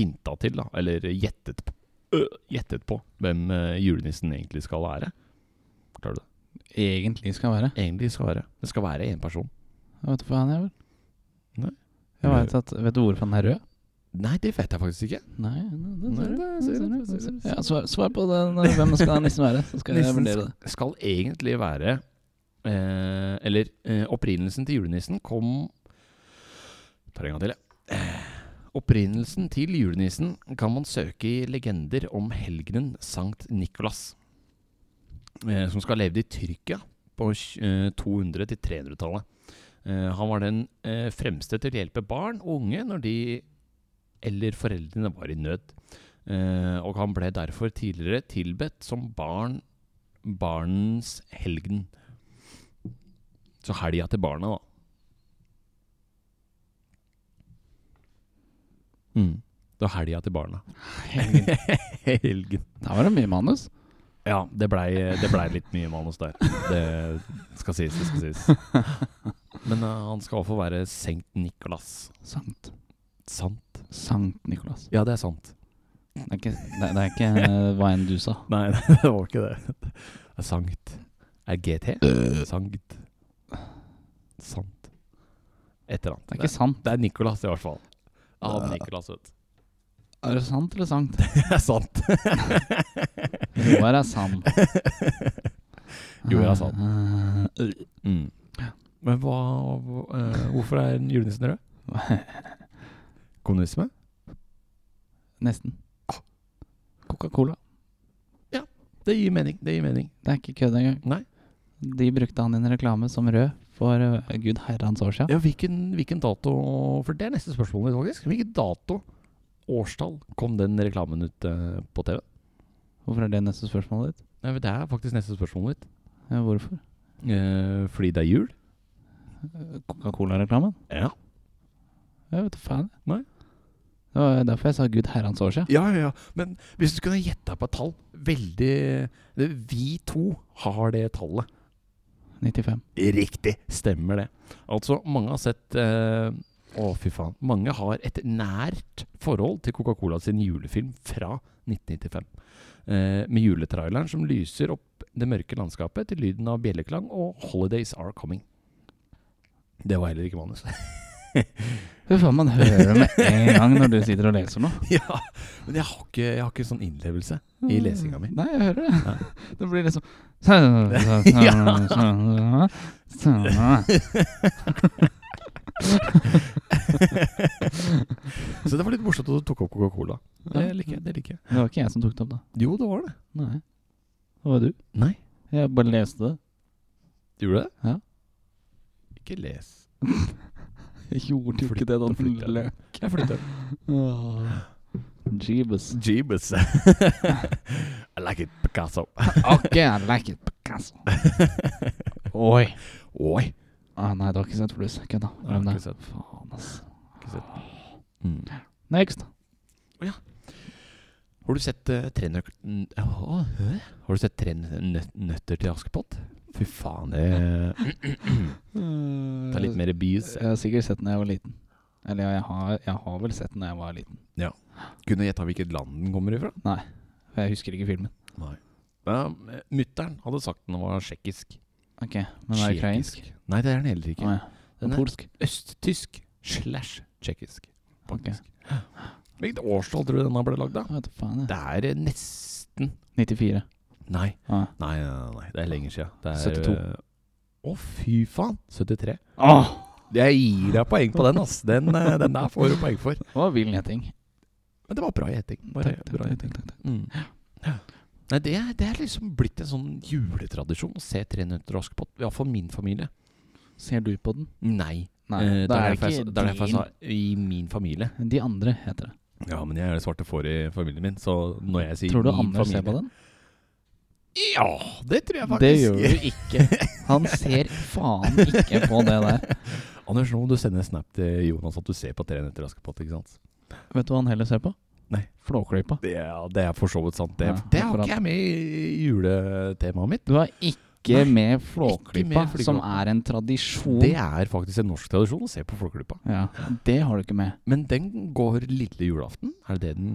Speaker 2: hinta til, da, eller gjettet på, øh, gjettet på hvem eh, julenissen egentlig skal være Klarer du det?
Speaker 1: Egentlig skal være.
Speaker 2: Egentlig skal være Det skal være én person.
Speaker 1: Jeg vet du hva han er, vel?
Speaker 2: Nei.
Speaker 1: Jeg vet, at, vet du hvorfor han er rød?
Speaker 2: Nei, det vet jeg faktisk ikke.
Speaker 1: Nei, nei, det
Speaker 2: Nei,
Speaker 1: ser du.
Speaker 2: det
Speaker 1: Det
Speaker 2: ser
Speaker 1: ser
Speaker 2: du,
Speaker 1: du,
Speaker 2: det
Speaker 1: det
Speaker 2: altså, ser
Speaker 1: ser
Speaker 2: du.
Speaker 1: du. Ja, svar, svar på den. Hvem skal nissen være? Så skal jeg
Speaker 2: Nissen
Speaker 1: vurdere det.
Speaker 2: Skal egentlig være eh, Eller eh, opprinnelsen til julenissen kom Tar en gang til, jeg. Opprinnelsen til julenissen kan man søke i legender om helgenen Sankt Nikolas, eh, som skal ha levd i Tyrkia på tj- eh, 200- til 300-tallet. Eh, han var den eh, fremste til å hjelpe barn og unge når de eller foreldrene var i nød. Eh, og han ble derfor tidligere tilbedt som barn barnens helgen. Så helga til barna, da. Mm. Det var helga til barna.
Speaker 1: Helgen.
Speaker 2: helgen.
Speaker 1: Der var det mye manus.
Speaker 2: Ja, det blei det blei litt mye manus der. Det skal sies, det skal sies. Men eh, han skal iallfall være Senkt Nikolas.
Speaker 1: Sant.
Speaker 2: Sant?
Speaker 1: Sankt Nikolas.
Speaker 2: Ja, det er sant.
Speaker 1: Det er ikke, det, det er ikke eh, hva enn du sa.
Speaker 2: Nei, det var ikke det. Det er Sankt. Er GT? Sankt. Sant. Et eller annet.
Speaker 1: Det er ikke sant.
Speaker 2: det er Nicolas, i hvert fall. Ja, han Nicolas, vet du.
Speaker 1: Er det sant eller sant?
Speaker 2: Det er sant.
Speaker 1: Roar er sann.
Speaker 2: Jo, jeg er sann.
Speaker 1: Eh,
Speaker 2: Mm. Men hva, hva- eh, hvorfor er julenissen rød? Kommunisme?
Speaker 1: Nesten. Coca-Cola.
Speaker 2: Det gir mening. Det gir mening.
Speaker 1: Det er ikke kødd engang.
Speaker 2: Nei.
Speaker 1: De brukte han i en reklame som rød for eh, gud herrens år siden.
Speaker 2: Ja, hvilken, hvilken dato For det er neste spørsmål, faktisk. Hvilken dato, årstall, kom den reklamen ut eh, på TV?
Speaker 1: Hvorfor er det neste spørsmålet ditt?
Speaker 2: Nei, men Det er faktisk neste spørsmål mitt.
Speaker 1: Eh, Hvorfor?
Speaker 2: Eh, fordi det er jul?
Speaker 1: Coca-Cola-reklamen?
Speaker 2: Ja.
Speaker 1: Jeg vet da faen.
Speaker 2: Nei.
Speaker 1: Det var derfor jeg sa gud herrens år siden.
Speaker 2: Ja, ja, ja. Men hvis du kunne gjette på et tall Veldig det- Vi to har det tallet.
Speaker 1: 95.
Speaker 2: Riktig. Stemmer det. Altså, mange har sett eh, Å, fy faen. Mange har et nært forhold til Coca-Cola sin julefilm fra 1995. Eh, med juletraileren som lyser opp det mørke landskapet til lyden av bjelleklang og 'Holidays Are Coming'. Det var heller ikke manus.
Speaker 1: Fy faen, man hører det med en gang når du sitter og leser noe.
Speaker 2: ja, men jeg har ikke, jeg har ikke sånn innlevelse i lesinga mi.
Speaker 1: Mm. Nei, jeg hører det. Det blir liksom Ja.
Speaker 2: Så det var litt morsomt at du tok opp Coca-Cola. Det liker jeg. det liker jeg
Speaker 1: Det var ikke jeg som tok det opp, da.
Speaker 2: Jo, det var det.
Speaker 1: Nei. Det var du.
Speaker 2: Nei.
Speaker 1: Jeg bare leste det.
Speaker 2: Gjorde du det?
Speaker 1: Ja.
Speaker 2: Ikke les.
Speaker 1: Jeg gjorde jo ikke det da den
Speaker 2: Flytta, flytta.
Speaker 1: lø...
Speaker 2: Jeg flytter.
Speaker 1: Jeebus.
Speaker 2: Jeebus. I like it, Picasso.
Speaker 1: OK, I like it, Picasso. Oi.
Speaker 2: Oi.
Speaker 1: Ah, nei, det var ikke sett blues. Kødda.
Speaker 2: Nei,
Speaker 1: Glem det.
Speaker 2: ikke sett.
Speaker 1: Faen, ass.
Speaker 2: Ikke sett. Mm.
Speaker 1: Next.
Speaker 2: Har du sett uh, trenøk... n- Åh, hæ? Har du sett Tre nø- nøtter til Askepott? Fy faen, det
Speaker 1: Eh,
Speaker 2: Ta litt mer bees.
Speaker 1: Jeg har sikkert sett den da jeg var liten. Eller ja, jeg har, jeg har vel sett den da jeg var liten.
Speaker 2: Kunne gjetta hvilket land den kommer ifra?
Speaker 1: For jeg husker ikke filmen.
Speaker 2: Nei. Ja, Mutter'n hadde sagt den var tsjekkisk.
Speaker 1: Ok, Men det er ukrainsk?
Speaker 2: Tsjekkisk. Nei, det er den heller ikke.
Speaker 1: Å ja.
Speaker 2: Den er-
Speaker 1: Polsk?
Speaker 2: Østtysk slash tsjekkisk. faktisk. Hvilket årstall tror du den ble lagd, da?
Speaker 1: Jeg vet da faen, jeg.
Speaker 2: Det er eh, nesten
Speaker 1: 94.
Speaker 2: Nei.
Speaker 1: Å ja.
Speaker 2: Nei, nei, nei, nei. det er lenger siden. Det er,
Speaker 1: 72.
Speaker 2: eh, Å, fy faen! 73.
Speaker 1: Åh,
Speaker 2: Jeg gir deg poeng på den, ass. Den, eh, den der får du poeng for.
Speaker 1: det var vill gjetting.
Speaker 2: Men det var bra gjetting. Bare
Speaker 1: Takk, takk,
Speaker 2: bra
Speaker 1: takk,
Speaker 2: gjetting.
Speaker 1: takk, takk.
Speaker 2: Mm. Ja. Nei, det, er- det er liksom blitt en sånn juletradisjon å se 300 Askepott. Iallfall min familie.
Speaker 1: Ser du på den?
Speaker 2: Nei.
Speaker 1: Nei,
Speaker 2: Eh,
Speaker 1: det er
Speaker 2: det derfor jeg
Speaker 1: ikke
Speaker 2: sa- det er derfor jeg
Speaker 1: din.
Speaker 2: sa i min familie.
Speaker 1: De andre heter det.
Speaker 2: Ja, men jeg er det svarte får i familien min, så når jeg sier
Speaker 1: Tror du
Speaker 2: min
Speaker 1: Anders
Speaker 2: familie
Speaker 1: ser på den?
Speaker 2: Ja, det tror jeg faktisk.
Speaker 1: Det gjør du ikke. Han ser faen ikke på det der.
Speaker 2: Anders, nå må du sende en snap til Jonas at du ser på Tre netter i Askepott, ikke sant?
Speaker 1: Vet du hva han heller ser på?
Speaker 2: Nei.
Speaker 1: Flåklypa.
Speaker 2: Det, er- det er for så vidt sant. Det,
Speaker 1: Ja,
Speaker 2: det har
Speaker 1: akkurat.
Speaker 2: ikke jeg med i juletemaet mitt.
Speaker 1: Du er ikke
Speaker 2: Nei,
Speaker 1: med
Speaker 2: ikke
Speaker 1: Flåklypa,
Speaker 2: med Flåklypa.
Speaker 1: som er en tradisjon.
Speaker 2: Det er faktisk en norsk tradisjon å se på Folkeklubba.
Speaker 1: Ja, det har du ikke med.
Speaker 2: Men den går lille julaften? Er det det den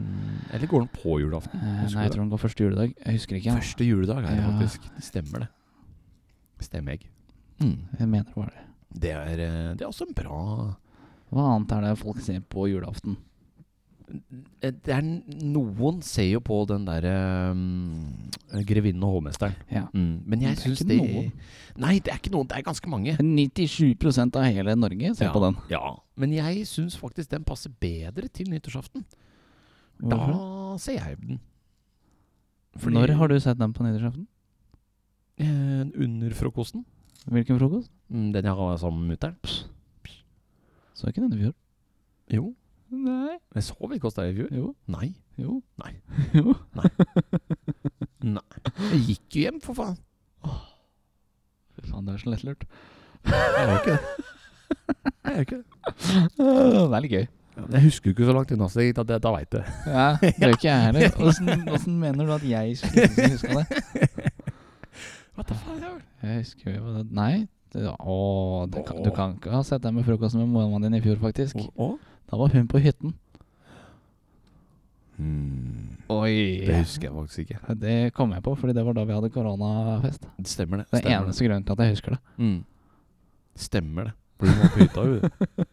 Speaker 2: Eller går den på julaften?
Speaker 1: Eh,
Speaker 2: Husker
Speaker 1: Nei,
Speaker 2: du
Speaker 1: jeg tror den går første juledag. Jeg husker ikke. Jeg,
Speaker 2: Første juledag er det
Speaker 1: Ja.
Speaker 2: faktisk. Det stemmer det. Stemmer jeg. Mm.
Speaker 1: jeg mener det var det.
Speaker 2: Det, er, eh, det er også en bra
Speaker 1: Hva annet er det folk ser på julaften?
Speaker 2: Eh, det er, n- Noen ser jo på den derre um, Grevinnen og hovmesteren.
Speaker 1: Ja.
Speaker 2: Mm, men jeg
Speaker 1: Det er
Speaker 2: syns
Speaker 1: ikke
Speaker 2: det
Speaker 1: noen.
Speaker 2: Nei, det er ikke noen. Det er ganske mange.
Speaker 1: 97 av hele Norge ser
Speaker 2: Ja.
Speaker 1: på den.
Speaker 2: Ja, Men jeg syns faktisk den passer bedre til nyttårsaften.
Speaker 1: Hvorfor?
Speaker 2: Da ser jeg den.
Speaker 1: Når har du sett den på nyttårsaften?
Speaker 2: eh, Under frokosten.
Speaker 1: Hvilken frokost?
Speaker 2: Mm, Den jeg har sammen med mutter'n.
Speaker 1: Så ikke den i fjor.
Speaker 2: Jo.
Speaker 1: Nei.
Speaker 2: Jeg sov ikke hos deg i fjor.
Speaker 1: Jo.
Speaker 2: Nei.
Speaker 1: Jo.
Speaker 2: Nei.
Speaker 1: jo.
Speaker 2: Jeg gikk jo hjem, for faen.
Speaker 1: Fy faen, det er så lettlurt.
Speaker 2: Jeg gjør ikke det. Jeg gjør ikke det.
Speaker 1: Det er litt gøy.
Speaker 2: Jeg husker jo ikke så langt unna, så jeg- da, da veit jeg.
Speaker 1: Ja, det gjør ikke jeg heller. Åssen- Åssen mener du at jeg skulle huske det?
Speaker 2: What the fuck, jeg
Speaker 1: Jeg husker jo det. Nei. Det, å, det kan, du kan ikke ha sett den med frokosten med mormannen din i fjor, faktisk.
Speaker 2: Og?
Speaker 1: Da var hun på hytten.
Speaker 2: Hmm.
Speaker 1: Oi.
Speaker 2: Det husker jeg faktisk ikke.
Speaker 1: Det kom jeg på, fordi det var da vi hadde koronafest.
Speaker 2: Det stemmer det.
Speaker 1: Det er
Speaker 2: Stemmer det.
Speaker 1: eneste grunnen til at jeg husker det.
Speaker 2: Mm. Stemmer det. For du var på hytta, jo.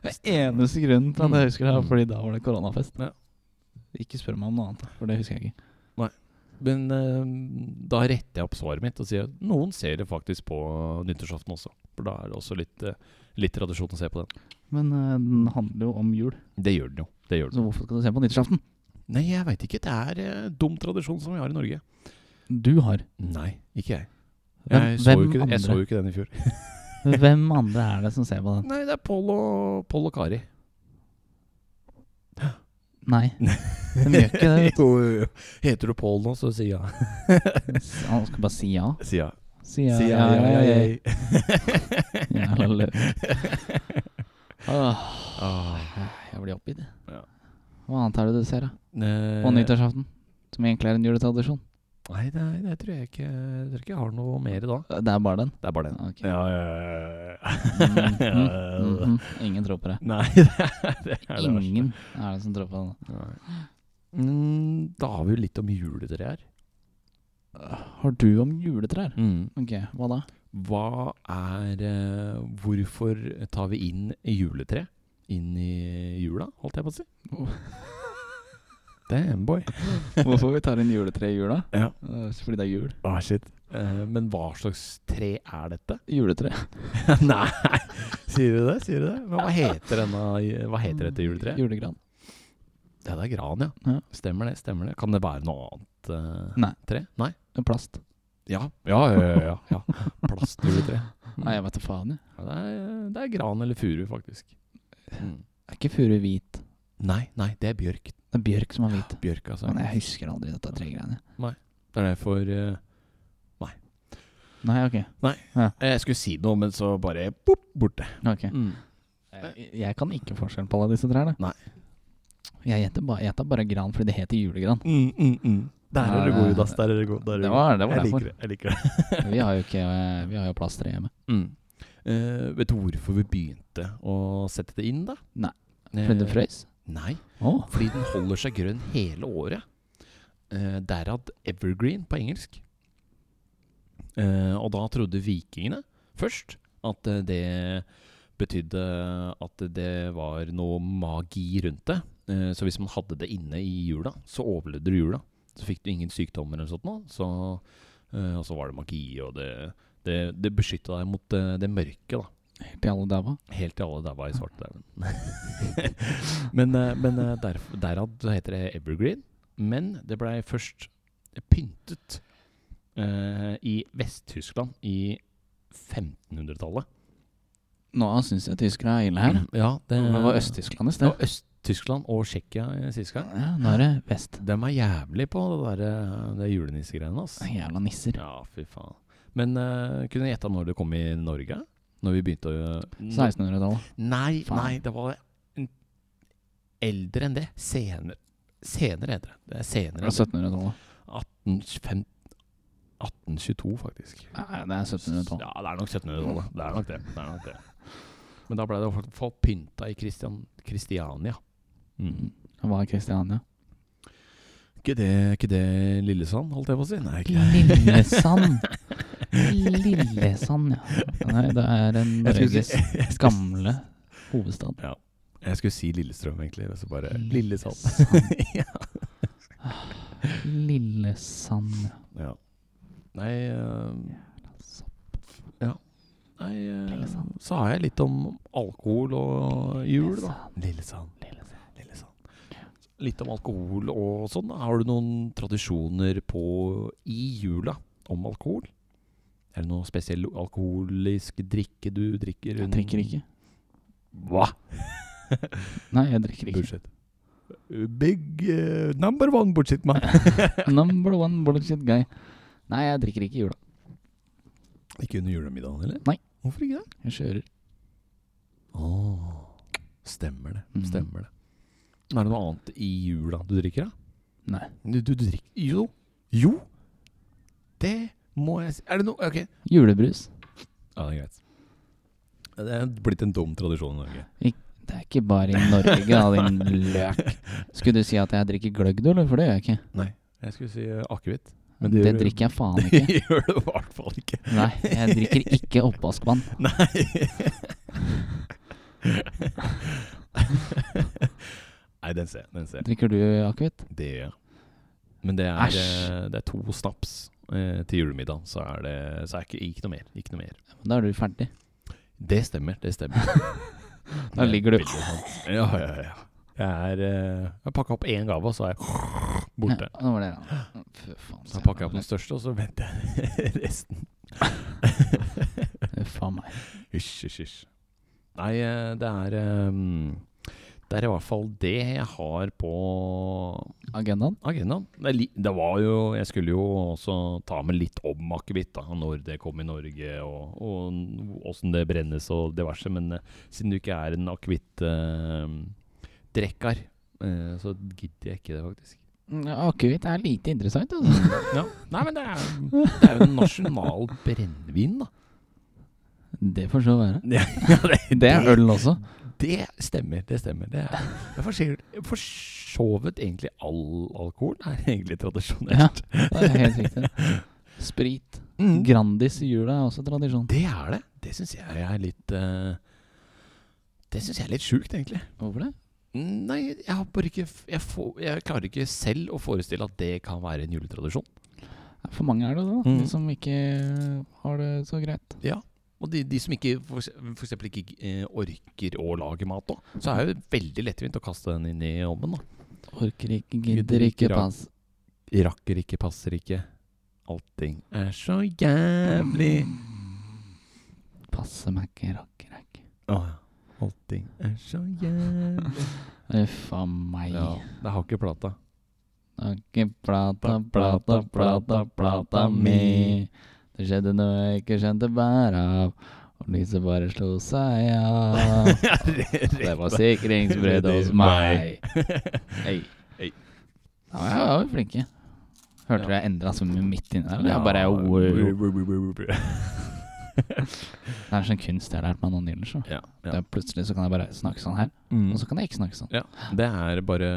Speaker 1: Det er eneste grunnen til at jeg husker det, er
Speaker 2: Mm.
Speaker 1: fordi da var det koronafest.
Speaker 2: Ja.
Speaker 1: Ikke spør meg om noe annet, for det husker jeg ikke.
Speaker 2: Men eh, da retter jeg opp svaret mitt og sier at noen ser det faktisk på nyttårsaften også. For da er det også litt, eh, litt tradisjon å se på den.
Speaker 1: Men eh, den handler jo om jul,
Speaker 2: Det gjør den jo. Det gjør den.
Speaker 1: så hvorfor skal du se på nyttårsaften?
Speaker 2: Nei, jeg veit ikke. Det er eh, dum tradisjon som vi har i Norge.
Speaker 1: Du har.
Speaker 2: Nei, ikke jeg.
Speaker 1: Hvem-
Speaker 2: Jeg så, jo
Speaker 1: hvem
Speaker 2: ikke, jeg så
Speaker 1: andre?
Speaker 2: jo ikke den i fjor.
Speaker 1: Hvem andre er det som ser på den?
Speaker 2: Nei, det er Pål og, Pål og Kari.
Speaker 1: Nei. Den gjør ikke det.
Speaker 2: jo, jo, jo. Heter du Pål nå, så sier jeg
Speaker 1: Han skal bare si ja.
Speaker 2: Sier jeg.
Speaker 1: Si ja,
Speaker 2: Sier jeg,
Speaker 1: ja, ja, ja, ja, ja.
Speaker 2: jeg.
Speaker 1: Jævla løk. Åh,
Speaker 2: Ah,
Speaker 1: jeg blir oppgitt, jeg.
Speaker 2: Ja.
Speaker 1: Hva annet er det du ser, da?
Speaker 2: eh,
Speaker 1: På nyttårsaften? Som egentlig er en juletradisjon?
Speaker 2: Nei, det, er- det tror jeg ikke Jeg tror ikke jeg har noe mer da.
Speaker 1: Det er bare den?
Speaker 2: Det er bare den.
Speaker 1: Ok.
Speaker 2: Ja, ja, ja,
Speaker 1: Mhm,
Speaker 2: ja, ja.
Speaker 1: mhm. Ingen tror på det.
Speaker 2: Nei, det er det, er det verste.
Speaker 1: Ingen er det som tror på det.
Speaker 2: Nei. Mm, da har vi jo litt om juletre her.
Speaker 1: Har du om juletrær?
Speaker 2: Mm.
Speaker 1: Ok, hva da?
Speaker 2: Hva er eh, Hvorfor tar vi inn juletre inn i jula, holdt jeg på å si? Damn, boy.
Speaker 1: Hvorfor vi tar inn juletre i jula?
Speaker 2: Ja.
Speaker 1: Eh, Fordi det er jul.
Speaker 2: Ah, shit. Eh, men hva slags tre er dette?
Speaker 1: Juletre.
Speaker 2: Nei, sier du det? Sier du det? Men hva heter denne Hva heter dette juletreet?
Speaker 1: Julegran.
Speaker 2: Ja, det er gran, ja.
Speaker 1: Ja.
Speaker 2: Stemmer det. stemmer det Kan det være noe annet eh,
Speaker 1: Nei.
Speaker 2: tre? Nei?
Speaker 1: Eh, Plast.
Speaker 2: Ja. Ja, ja, ja. ja, ja. Plastjuletre. Mm.
Speaker 1: Nei, jeg vet da faen, jeg.
Speaker 2: Ja, det, er, det er gran eller furu, faktisk. Mm.
Speaker 1: Er ikke furu hvit?
Speaker 2: Nei, nei, det er bjørk.
Speaker 1: Det er bjørk som er hvit.
Speaker 2: Bjørk, altså.
Speaker 1: Men jeg husker aldri dette tregreiene.
Speaker 2: Det er derfor eh,
Speaker 1: Nei, ok.
Speaker 2: Eh, Jeg skulle si noe, men så bare pop, borte.
Speaker 1: ok.
Speaker 2: Mm.
Speaker 1: Jeg, jeg kan ikke forskjellen på alle disse trærne.
Speaker 2: Nei.
Speaker 1: Jeg gjetter bare, jeg tar bare gran fordi det heter julegran.
Speaker 2: Mm, mm, mm. Der er du god, Judas. Der er du god. Der er du
Speaker 1: Det
Speaker 2: god.
Speaker 1: var, det var
Speaker 2: jeg
Speaker 1: derfor.
Speaker 2: liker det. Jeg liker det.
Speaker 1: Vi har jo ikke eh, Vi har jo plasttre hjemme.
Speaker 2: Mm. Eh, vet du hvorfor vi begynte å sette det inn, da?
Speaker 1: Nei.
Speaker 2: Eh,
Speaker 1: Fordi det frøys?
Speaker 2: Nei,
Speaker 1: Å.
Speaker 2: fordi den holder seg grønn hele året. Eh, Derav evergreen på engelsk. Eh, og da trodde vikingene først at eh, det betydde at det var noe magi rundt det. Eh, så hvis man hadde det inne i jula, så overlevde du jula. Så fikk du ingen sykdommer eller sånt nå. Så, eh, og så var det magi, og det, det, det beskytta deg mot eh, det mørke, da.
Speaker 1: Helt i alle daua.
Speaker 2: Helt til alle daua i svartedauden. men eh, men eh, derf- derav så heter det evergreen. Men det blei først pyntet eh, i Vest-Tyskland i 1500-tallet.
Speaker 1: Nå syns jeg tyskere er ille her.
Speaker 2: Mm, Ja,
Speaker 1: Det var Øst-Tyskland i
Speaker 2: Det
Speaker 1: sted.
Speaker 2: var Øst-Tyskland og Tsjekkia eh, sist gang.
Speaker 1: Ja, nå er det vest.
Speaker 2: De er jævlig på det der, eh, det julenissegreiene, ass.
Speaker 1: Jævla nisser.
Speaker 2: Ja, fy faen. Men eh, kunne jeg gjetta når det kom i Norge? Når vi begynte å
Speaker 1: 1600-tallet.
Speaker 2: Nei,
Speaker 1: Faen.
Speaker 2: nei, det var en eldre enn det. Senere. Senere heter det. Det er senere.
Speaker 1: Fra
Speaker 2: enn det.
Speaker 1: 1700-tallet.
Speaker 2: 1825 1822, faktisk.
Speaker 1: Nei, det er 1700-tallet.
Speaker 2: Ja, det er nok 1700-tallet. Det er nok det. det, er nok det. Men da ble det i hvert fall pynta i Christian, Christiania. Mm.
Speaker 1: Hva er Kristiania?
Speaker 2: Ikke, det, ikke det Lillesand, holdt jeg på å si? Nei, ikke det.
Speaker 1: Lillesand. Lillesand, ja. Nei, det er en
Speaker 2: Jeg skulle
Speaker 1: Norges
Speaker 2: si- jeg skulle-
Speaker 1: gamle hovedstad.
Speaker 2: Jeg skulle si Lillestrøm, egentlig. Men så bare Lillesand.
Speaker 1: Lillesand.
Speaker 2: ja.
Speaker 1: Lillesand, ja.
Speaker 2: ja. Nei eh, Nei, eh,
Speaker 1: Lillesand.
Speaker 2: så har jeg litt om alkohol og jul, da. Lillesand.
Speaker 1: Lillesand.
Speaker 2: Litt om alkohol og sånn. da. Har du noen tradisjoner på i jula om alkohol? Er det noe spesiell alkoholisk drikke du drikker?
Speaker 1: Jeg
Speaker 2: under-
Speaker 1: drikker ikke.
Speaker 2: Hva?
Speaker 1: Nei, jeg drikker ikke.
Speaker 2: Bullshit. Big eh, number one bullshit, man.
Speaker 1: Number one bullshit guy. Nei, jeg drikker ikke i jula.
Speaker 2: ikke under julemiddagen, eller?
Speaker 1: Nei.
Speaker 2: Hvorfor ikke det?
Speaker 1: Jeg kjører.
Speaker 2: Åh, stemmer det.
Speaker 1: Mhm.
Speaker 2: Stemmer det. Er det noe annet i jula du drikker, da?
Speaker 1: Nei.
Speaker 2: Du, du drikker Jo. Jo. Det må jeg si. Er det noe Ok.
Speaker 1: Julebrus.
Speaker 2: Ja, det er greit. Det er blitt en dum tradisjon i Norge.
Speaker 1: Det er drikker bare i Norge, da, din løk. Skulle du si at jeg drikker gløgg, du, eller? For det gjør jeg ikke.
Speaker 2: Jeg skulle si eh, akevitt. Men
Speaker 1: Det,
Speaker 2: gjør-
Speaker 1: drikker jeg faen
Speaker 2: Det
Speaker 1: ikke.
Speaker 2: gjør du i hvert fall ikke.
Speaker 1: Nei, jeg drikker ikke oppvaskvann.
Speaker 2: Nei. Nei, den ser jeg. Den ser jeg.
Speaker 1: Drikker du akevitt?
Speaker 2: Det gjør jeg. Men det er,
Speaker 1: Æsj.
Speaker 2: eh, det er to snaps eh, til julemiddag, så er det så er ikke, ikke noe mer. Ikke noe mer.
Speaker 1: Da er du ferdig.
Speaker 2: Det stemmer, det stemmer.
Speaker 1: Da ligger du-
Speaker 2: Veldig sant. Ja, ja, ja. Jeg er eh, Jeg har pakka opp én gave, og så er jeg borte.
Speaker 1: Ja, nå var det ja. Fy faen.
Speaker 2: Så jeg pakker jeg opp den største, og så venter jeg resten.
Speaker 1: Fy faen meg.
Speaker 2: Hysj, hysj, hysj. Nei, eh, det er eh, Det er i hvert fall det jeg har på
Speaker 1: Agendaen?
Speaker 2: agendaen. Det, er li- det var jo Jeg skulle jo også ta med litt om akevitt, da, når det kom i Norge, og, og åssen det brennes og diverse. Men eh, siden du ikke er en akevittdrekker, eh, så gidder jeg ikke det, faktisk.
Speaker 1: Ja, Akevitt er lite interessant, altså.
Speaker 2: Ja. Nei, men det er, det er jo en nasjonal brennevin, da.
Speaker 1: Det får så være.
Speaker 2: Ja,
Speaker 1: Det er øl også.
Speaker 2: Det stemmer, det stemmer. Det er, det er for, sikkert- for så vidt egentlig all alkohol er egentlig
Speaker 1: Ja,
Speaker 2: tradisjonelt.
Speaker 1: det er helt riktig. Sprit.
Speaker 2: Mm.
Speaker 1: Grandis i jula er også tradisjon.
Speaker 2: Det er det. Det syns jeg er litt eh, Det syns jeg er litt sjukt, egentlig.
Speaker 1: Hvorfor det?
Speaker 2: Mm, Nei, jeg har bare ikke f- jeg, får, jeg klarer ikke selv å forestille at det kan være en juletradisjon.
Speaker 1: For mange er det det, da.
Speaker 2: Mm.
Speaker 1: De som ikke har det så greit.
Speaker 2: Ja og de, de som ikke for, ekse- for eksempel ikke eh, orker å lage mat, da, så er det jo veldig lettvint å kaste den inn i ovnen. da.
Speaker 1: Orker ikke,
Speaker 2: Gidder
Speaker 1: gidder
Speaker 2: ikke,
Speaker 1: ikke,
Speaker 2: rak-
Speaker 1: pass.
Speaker 2: Rakker ikke, passer ikke. Allting er så jævlig.
Speaker 1: Passer meg ikke, rakker jeg ikke.
Speaker 2: Åh, allting er så jævlig.
Speaker 1: Uff a meg.
Speaker 2: Ja, det har ikke plata.
Speaker 1: Ikke plata, plata, plata, plata mi. Det skjedde noe jeg ikke skjønte bæret av. Og lyset bare slo seg av. Det var sikringsbredde hos meg. Hei.
Speaker 2: Hei.
Speaker 1: Ja, men jeg var jo flinke. Hørte
Speaker 2: Ja.
Speaker 1: du jeg endra svømmen midt inni der? eller? Jeg bare, wow. Det er sånn kunst jeg har lært meg nå nylig. så.
Speaker 2: Ja,
Speaker 1: Det
Speaker 2: ja.
Speaker 1: er Plutselig så kan jeg bare snakke sånn her, og så kan jeg ikke snakke sånn.
Speaker 2: ja. Det er bare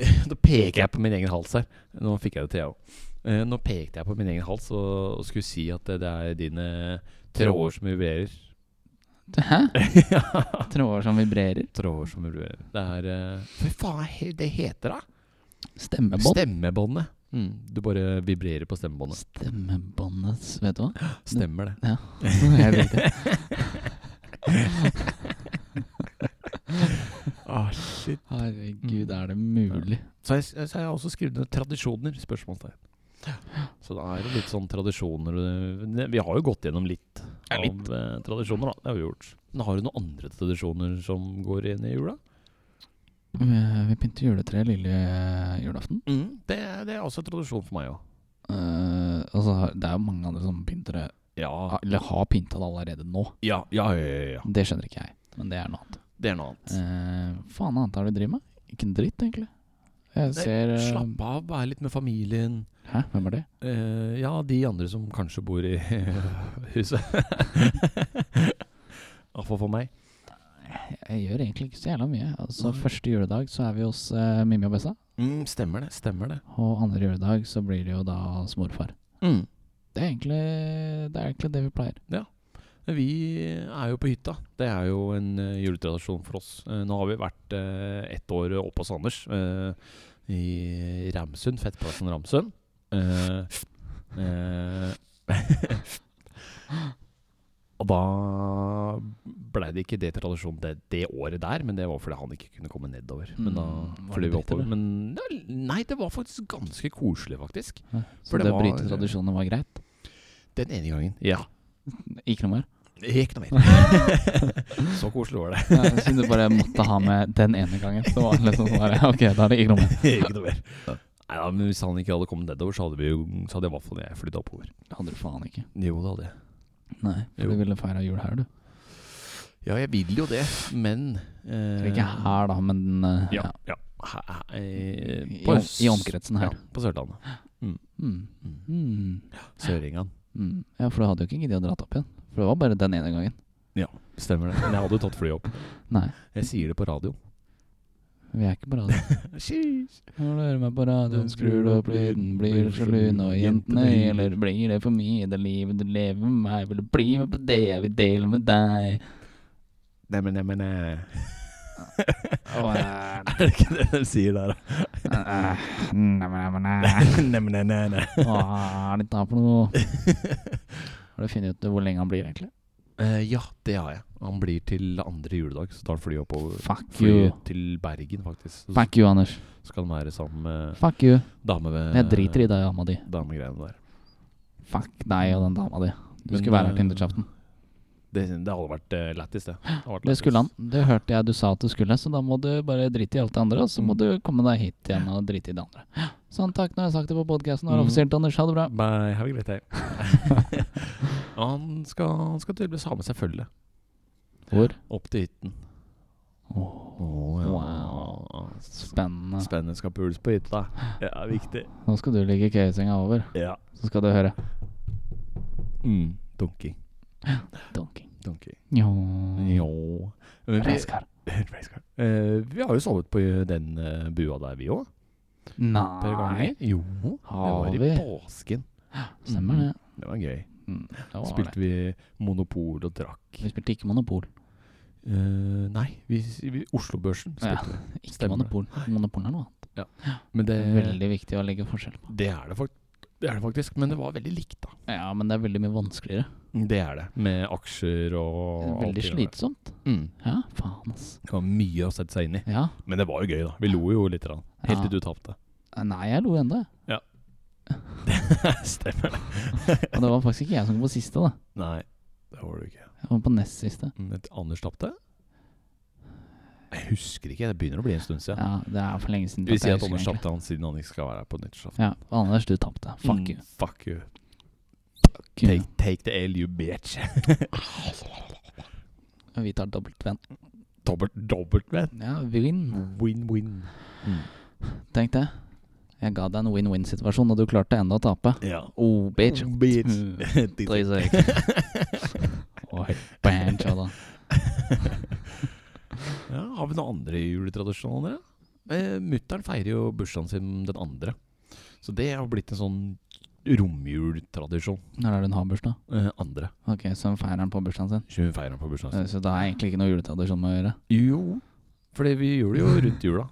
Speaker 2: Nå peker jeg på min egen hals her. Nå fikk jeg det til, jeg òg. Nå pekte jeg på min egen hals og, og skulle si at det, det er dine tråder som vibrerer.
Speaker 1: Hæ? Tråder som vibrerer?
Speaker 2: tråder som vibrerer. Det er eh, Fy faen, he- det heter det?
Speaker 1: Stemmebånd?
Speaker 2: Stemmebåndet. Mm, du bare vibrerer på stemmebåndet.
Speaker 1: Stemmebåndet, vet du hva?
Speaker 2: Stemmer det.
Speaker 1: Det er helt riktig. Herregud, er det
Speaker 2: Mm.
Speaker 1: mulig?
Speaker 2: Ah, Så, jeg, så har jeg også skrevet ned tradisjoner. Spørsmålstegn. Så det er jo litt sånn tradisjoner eh, Vi har jo gått gjennom litt
Speaker 1: Ja,
Speaker 2: av
Speaker 1: litt.
Speaker 2: eh, tradisjoner, da. Det har vi gjort. Men har du noen andre tradisjoner som går inn i jula?
Speaker 1: Vi vi pynter juletreet lille julaften.
Speaker 2: Mm, Det, er- det er også en tradisjon for meg òg.
Speaker 1: Eh, altså, det er jo mange andre som pynter det,
Speaker 2: Ja.
Speaker 1: eller har pynta det allerede nå.
Speaker 2: Ja, ja, ja, ja, ja.
Speaker 1: Det skjønner ikke jeg, men det er noe annet.
Speaker 2: Det er noe annet.
Speaker 1: Eh, faen annet er det du driver med? Ikke en dritt, egentlig. Jeg
Speaker 2: Nei,
Speaker 1: ser eh,
Speaker 2: Slapp av, være litt med familien.
Speaker 1: Hæ, hvem er det?
Speaker 2: Eh, ja, de andre som kanskje bor i huset. Iallfall for meg.
Speaker 1: Jeg gjør egentlig ikke så jævla mye. Altså,
Speaker 2: Nei.
Speaker 1: Første juledag så er vi hos eh, Mimmi og Bessa.
Speaker 2: Mm, stemmer det. stemmer det
Speaker 1: Og andre juledag så blir det jo da hos morfar.
Speaker 2: Mm.
Speaker 1: Det er egentlig det, er egentlig det vi pleier.
Speaker 2: Vi er jo på hytta. Det er jo en eh, juletradisjon for oss. Eh, nå har vi vært eh, ett år oppe hos Anders eh, i Ramsund. Fettplassen Ramsund. Eh, eh, og da blei det ikke det tradisjonen det, det året der, men det var fordi han ikke kunne komme nedover. Men da
Speaker 1: Mm, var det
Speaker 2: fløy vi
Speaker 1: dritt,
Speaker 2: oppover.
Speaker 1: eller?
Speaker 2: Men ja, nei, det var faktisk ganske koselig, faktisk.
Speaker 1: Ja.
Speaker 2: For
Speaker 1: Så
Speaker 2: det
Speaker 1: det, å
Speaker 2: var-
Speaker 1: bryte tradisjoner var greit.
Speaker 2: Den ene gangen. Ja.
Speaker 1: Ikke noe mer.
Speaker 2: Det gikk noe mer. Så koselig var det.
Speaker 1: Ja, Siden du bare måtte ha med den ene gangen. Så var det liksom sånn bare, Ok, da er det ikke noe mer.
Speaker 2: ikke noe mer. Nei, ja, men Hvis han ikke hadde kommet nedover, så hadde, vi jo, så hadde i hvert fall jeg flytta oppover.
Speaker 1: Det hadde du faen ikke.
Speaker 2: Jo, det hadde jeg.
Speaker 1: Nei, for
Speaker 2: Jo.
Speaker 1: du ville feira jul her, du.
Speaker 2: Ja, jeg vil jo det, men eh,
Speaker 1: Eller Ikke her, da, men eh,
Speaker 2: Ja,
Speaker 1: ja.
Speaker 2: ja. Hæ- hæ-
Speaker 1: I,
Speaker 2: eh, på
Speaker 1: om-
Speaker 2: s-
Speaker 1: i omkretsen her.
Speaker 2: Ja, på Sørlandet.
Speaker 1: Mm.
Speaker 2: Mm.
Speaker 1: Mm.
Speaker 2: Søringan.
Speaker 1: Mm. Ja, for du hadde jo ikke giddet å dra opp igjen. For det var bare den ene gangen.
Speaker 2: Ja.
Speaker 1: Stemmer det.
Speaker 2: Men jeg hadde tatt flyet opp.
Speaker 1: Nei,
Speaker 2: Jeg sier det på radio.
Speaker 1: vi er ikke på radio. Når du hører meg på radioen, skrur du opp lyden, blir du sjalu når jentene hyler? Blir det for mye, det livet du lever med meg? Vil du bli med på det jeg vil dele med deg?
Speaker 2: Neimen, neimen
Speaker 1: Åh, eh,
Speaker 2: eh. Er det ikke det de sier der, da?
Speaker 1: eh, nei, nei, nei, nei.
Speaker 2: Neimen, nei, nei, nei.
Speaker 1: Hva er dette her for noe? Har du funnet ut hvor lenge han blir, egentlig?
Speaker 2: Eh, ja, det har jeg. Han blir til andre juledag, så tar han flyet oppover.
Speaker 1: Fuck you.
Speaker 2: Flyet til Bergen, faktisk. Så
Speaker 1: Fuck you, Anders.
Speaker 2: skal han være sammen med
Speaker 1: Fuck you.
Speaker 2: dame ved
Speaker 1: Men jeg driter i deg, dama di.
Speaker 2: damegreiene der.
Speaker 1: Fuck deg og den dama di. Du
Speaker 2: Men,
Speaker 1: skulle være her
Speaker 2: eh,
Speaker 1: til nyttårsaften.
Speaker 2: Det, det hadde vært uh, lættis, det. hadde vært
Speaker 1: Det
Speaker 2: lættis.
Speaker 1: skulle han. Det hørte jeg du sa at du skulle, så da må du bare drite i alt det andre, og så må du komme deg hit igjen og drite i det andre. Sånn, takk. Nå har jeg sagt det på podkasten, og det er
Speaker 2: Mm.
Speaker 1: offisielt, Anders. Ha det bra.
Speaker 2: Bye, have a great day. han skal, han skal tydeligvis ha med seg følge
Speaker 1: Hvor?
Speaker 2: opp til hytten. Å,
Speaker 1: Wow. Spennende.
Speaker 2: Spennende skal puls på hytta. Ja, viktig.
Speaker 1: Nå skal du ligge køyesenga over,
Speaker 2: Ja.
Speaker 1: så skal du høre.
Speaker 2: Mm. Dunking.
Speaker 1: Donking.
Speaker 2: Dunking.
Speaker 1: Jo.
Speaker 2: Jo. Men vi,
Speaker 1: Raskar.
Speaker 2: Racecar. Eh, vi har jo sovet på den eh, bua der, vi òg.
Speaker 1: Nei.
Speaker 2: Jo.
Speaker 1: Har
Speaker 2: det
Speaker 1: vi?
Speaker 2: var i påsken.
Speaker 1: Stemmer det.
Speaker 2: Det var gøy.
Speaker 1: Mm, det var det.
Speaker 2: Spilte vi Monopol og drakk.
Speaker 1: Vi spilte ikke Monopol.
Speaker 2: Eh, nei, vi, vi, Oslobørsen
Speaker 1: Ja,
Speaker 2: spilte vi.
Speaker 1: Ikke
Speaker 2: Stemmer det.
Speaker 1: Monopol. Monopol er noe annet.
Speaker 2: Men det,
Speaker 1: Det er veldig viktig å legge forskjell på.
Speaker 2: det, er det, fakt det er det faktisk. Men det var veldig likt, da.
Speaker 1: Ja, men det er veldig mye vanskeligere.
Speaker 2: Det er det. Med aksjer og alt
Speaker 1: Veldig
Speaker 2: det der.
Speaker 1: slitsomt.
Speaker 2: Mm.
Speaker 1: Ja, faen, ass.
Speaker 2: Det var mye å sette seg inn i.
Speaker 1: Ja.
Speaker 2: Men det var jo gøy, da. Vi lo jo litt. grann. Helt til du tapte.
Speaker 1: Nei, jeg lo ennå.
Speaker 2: Stemmer det.
Speaker 1: Og det var faktisk ikke jeg som kom på siste, da.
Speaker 2: Nei, det var du ikke.
Speaker 1: Jeg kom på nest siste.
Speaker 2: Men et Anders tapte? Mm. Jeg husker ikke. Det begynner å bli en stund siden.
Speaker 1: Ja, det er for lenge siden.
Speaker 2: Vi
Speaker 1: at
Speaker 2: sier
Speaker 1: jeg Mm. husker
Speaker 2: at Anders
Speaker 1: det,
Speaker 2: tapte han siden han ikke skal være her på nyttårsaften.
Speaker 1: egentlig. Ja, og Anders, du tapte. Fuck you.
Speaker 2: Mm, Fuck you.
Speaker 1: Fuck you.
Speaker 2: Take, take the L, you bitch.
Speaker 1: Vi tar dobbelt venn.
Speaker 2: dobbelt, dobbelt, men.
Speaker 1: Ja, win.
Speaker 2: Win, win. Mm.
Speaker 1: Tenk det. Jeg ga deg en win-win-situasjon, og du klarte ennå å tape.
Speaker 2: Ja.
Speaker 1: Oh, bitch.
Speaker 2: Oh, bitch.
Speaker 1: Mm.
Speaker 2: Titt-
Speaker 1: Please, Oi, bench, da.
Speaker 2: ja, har vi noen andre juletradisjoner? da? Eh, Mutter'n feirer jo bursdagen sin den andre. Så det har blitt en sånn romjultradisjon.
Speaker 1: Når er det hun har bursdag?
Speaker 2: Eh, andre.
Speaker 1: Ok, så hun feirer den på bursdagen sin.
Speaker 2: Så Hun feirer på bursdagen sin.
Speaker 1: Eh, Så det har egentlig ikke noe juletradisjon med å gjøre.
Speaker 2: Jo, fordi vi gjør det jo rundt jula.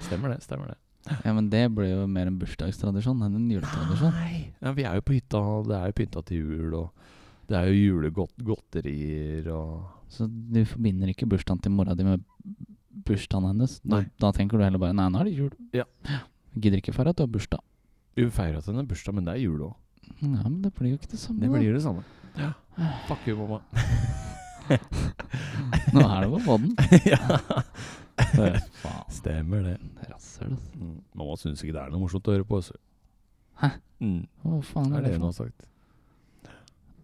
Speaker 2: Stemmer det. stemmer det
Speaker 1: Ja, Men det blir jo mer en bursdagstradisjon enn en juletradisjon.
Speaker 2: Nei, ja, Vi er jo på hytta, det er jo pynta til jul, og det er jo julegodterier og
Speaker 1: Så du forbinder ikke bursdagen til mora di med bursdagen hennes. Da,
Speaker 2: Nei.
Speaker 1: da tenker du heller bare nei, nå er det jul.
Speaker 2: Ja.
Speaker 1: Gidder ikke feire at du har bursdag.
Speaker 2: Vi feira til henne bursdag, men det er jul òg.
Speaker 1: Ja, men det blir jo ikke det samme.
Speaker 2: Det
Speaker 1: da.
Speaker 2: blir det samme. Ja. Fuck you, mamma.
Speaker 1: Nå er det på podden.
Speaker 2: ja.
Speaker 1: Eh, Faen,
Speaker 2: Stemmer det.
Speaker 1: det er rasshøl, ass.
Speaker 2: Mm. Mamma syns ikke det er noe morsomt å høre på. Så.
Speaker 1: Hæ?
Speaker 2: Mm.
Speaker 1: Hva faen er
Speaker 2: Det er
Speaker 1: det
Speaker 2: det
Speaker 1: for
Speaker 2: hun
Speaker 1: noe?
Speaker 2: har sagt.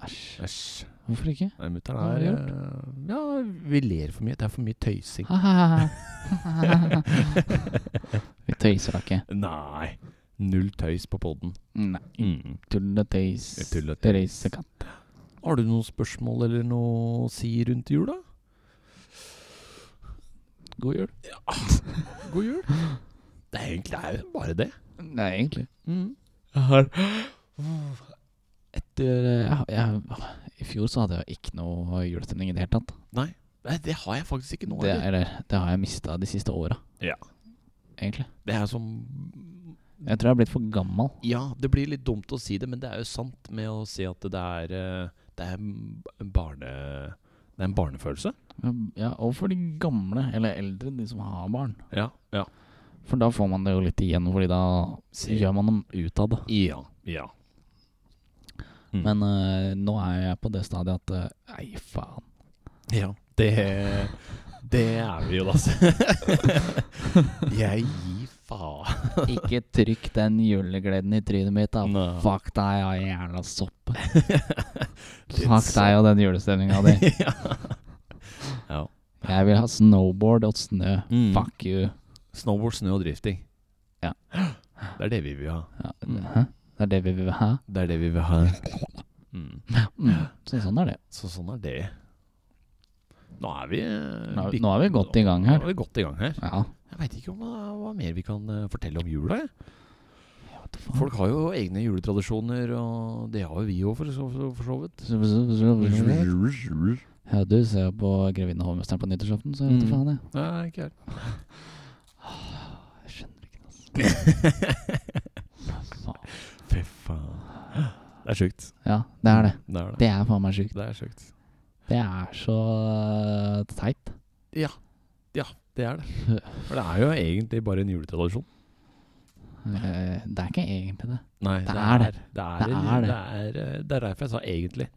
Speaker 1: Æsj.
Speaker 2: Æsj.
Speaker 1: Hvorfor ikke?
Speaker 2: Nei, mutter'n
Speaker 1: Hva har
Speaker 2: er
Speaker 1: du
Speaker 2: eh, Ja, vi ler for mye. Det er for mye tøysing.
Speaker 1: Vi tøyser da ikke.
Speaker 2: Nei. Null tøys på poden.
Speaker 1: Nei.
Speaker 2: Mm.
Speaker 1: Tulletøys.
Speaker 2: Tulletøys.
Speaker 1: Reisekatt.
Speaker 2: Har du noen spørsmål eller noe å si rundt jul, da?
Speaker 1: God jul.
Speaker 2: God jul. Det er egentlig det er jo bare det.
Speaker 1: Nei, egentlig.
Speaker 2: Mm.
Speaker 1: Jeg har Etter eh, jeg, jeg, I fjor så hadde jeg ikke noe julestemning i det hele tatt.
Speaker 2: Nei, nei, det har jeg faktisk ikke nå.
Speaker 1: Det,
Speaker 2: heller.
Speaker 1: eller, det har jeg mista de siste åra.
Speaker 2: Ja.
Speaker 1: Egentlig.
Speaker 2: det er som
Speaker 1: Jeg tror jeg er blitt for gammel.
Speaker 2: Ja, det blir litt dumt å si det, men det er jo sant med å si at det er eh, Det er en barne... Det er en barnefølelse.
Speaker 1: Ja, og for de gamle, eller eldre, de som har barn.
Speaker 2: Ja. Ja.
Speaker 1: For da får man det jo litt igjen, fordi da gjør man dem ut av det.
Speaker 2: Ja. ja. Mm.
Speaker 1: Men eh, nå er jeg på det stadiet at eh, Nei, faen.
Speaker 2: Ja, det Det er vi jo, da. jeg gir faen.
Speaker 1: Ikke trykk den julegleden i trynet mitt, da.
Speaker 2: Nei.
Speaker 1: Fuck deg og jævla sopp.
Speaker 2: Litt
Speaker 1: Fuck deg og den julestemninga di.
Speaker 2: ja. ja.
Speaker 1: Jeg vil ha snowboard og snø.
Speaker 2: Mm.
Speaker 1: Fuck you.
Speaker 2: Snowboard, snø og drifting.
Speaker 1: Ja.
Speaker 2: Det er det vi vil ha.
Speaker 1: Ja,
Speaker 2: Mm.
Speaker 1: hæ? Det er det vi vil ha.
Speaker 2: Det er det vi vil ha. Mm.
Speaker 1: Mm. Så sånn er det.
Speaker 2: Så sånn er det. Nå er vi eh,
Speaker 1: Nå er,
Speaker 2: bik-
Speaker 1: nå er vi godt i gang her.
Speaker 2: Nå er vi godt i gang her.
Speaker 1: Ja.
Speaker 2: Jeg veit ikke om det er hva mer vi kan eh, fortelle om jula. Jeg. Folk har jo egne juletradisjoner, og det har jo vi òg, for, så- for, for så vidt.
Speaker 1: Ja, du ser jo på Grevinne og hovmesteren på nyttårsaften, så jeg vet
Speaker 2: Mm.
Speaker 1: da faen, jeg.
Speaker 2: Nei, ikke helt.
Speaker 1: Jeg skjønner ikke noe. Faen.
Speaker 2: Fy faen. Det er sjukt.
Speaker 1: Ja, det er det.
Speaker 2: Det er det.
Speaker 1: Det er faen meg sjukt.
Speaker 2: Det er sjukt.
Speaker 1: Det er så øh, teit.
Speaker 2: Ja. Ja, det er det. For det er jo egentlig bare en juletradisjon.
Speaker 1: Eh, Det er ikke egentlig det.
Speaker 2: Nei,
Speaker 1: Det er det.
Speaker 2: Det er det.
Speaker 1: Det er det.
Speaker 2: Det er, eh, det er derfor jeg sa egentlig.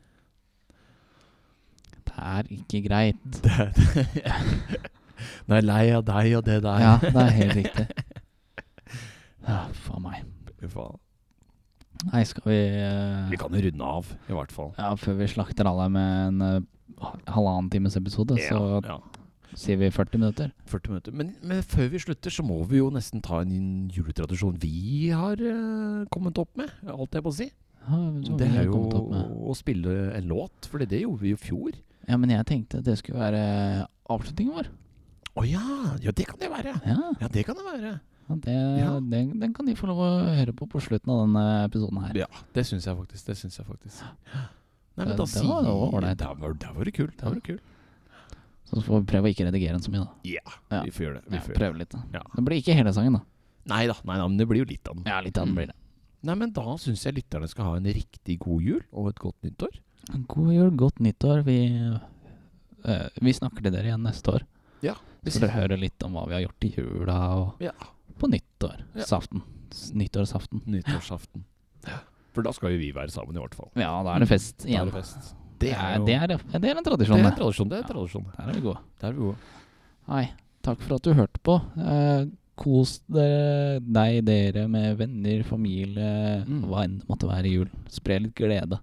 Speaker 1: Det er ikke greit.
Speaker 2: Nei, lei av deg og det der.
Speaker 1: Ja, det er helt riktig. Ja, faen meg.
Speaker 2: Fy faen.
Speaker 1: Nei, skal vi øh,
Speaker 2: Vi kan jo runde av, i hvert fall.
Speaker 1: Ja, før vi slakter alle med en øh, halvannen times episode, så
Speaker 2: ja.
Speaker 1: sier vi 40 minutter.
Speaker 2: 40 minutter. Men, men før vi slutter, så må vi jo nesten ta en juletradisjon vi har eh, kommet opp med. Alt jeg på å si.
Speaker 1: Ja, så
Speaker 2: Det
Speaker 1: vi har
Speaker 2: er jo
Speaker 1: kommet opp med.
Speaker 2: å spille en låt, for det gjorde vi jo i fjor.
Speaker 1: Ja, men jeg tenkte det skulle være avslutningen vår.
Speaker 2: Å ja! Ja, det kan det være.
Speaker 1: Ja,
Speaker 2: Ja, det kan det være.
Speaker 1: ja, det,
Speaker 2: Ja.
Speaker 1: Den, den kan de få lov å høre på på slutten av denne episoden her.
Speaker 2: Ja, det syns jeg faktisk. Det syns jeg faktisk. Nei, men
Speaker 1: Det-
Speaker 2: da
Speaker 1: det var- det var ålreit.
Speaker 2: Der var der var det kult. Der var det kult.
Speaker 1: Så får vi prøve å ikke redigere den så mye, da. Ja.
Speaker 2: Vi får gjøre det. Vi
Speaker 1: Ja,
Speaker 2: får gjøre det.
Speaker 1: prøve litt, da.
Speaker 2: Ja.
Speaker 1: Det blir ikke hele sangen, da.
Speaker 2: Nei da, nei da, men det blir jo litt av den.
Speaker 1: Ja, litt av den blir det.
Speaker 2: Nei, men da syns jeg lytterne skal ha en riktig god jul og et godt nyttår.
Speaker 1: God jul, godt nyttår. Vi, eh, vi snakker til dere igjen neste år. Så dere hører litt om hva vi har gjort i jula og
Speaker 2: Ja.
Speaker 1: på nyttår.
Speaker 2: Ja.
Speaker 1: Saften. S- Nyttårsaften.
Speaker 2: Nyttårsaften. For da skal jo vi være sammen, i hvert fall.
Speaker 1: Ja, da er det fest
Speaker 2: Mm. Da er
Speaker 1: igjen.
Speaker 2: det fest.
Speaker 1: Det er, det er, det er en
Speaker 2: det
Speaker 1: tradisjon,
Speaker 2: er
Speaker 1: det.
Speaker 2: en tradisjon. Det er en
Speaker 1: Ja.
Speaker 2: tradisjon.
Speaker 1: Der er vi gode.
Speaker 2: Det er vi gode.
Speaker 1: Hei, takk for at du hørte på. Eh, kos dere, deg, dere med venner, familie,
Speaker 2: Mm.
Speaker 1: hva enn det måtte være i jul. Spre litt glede.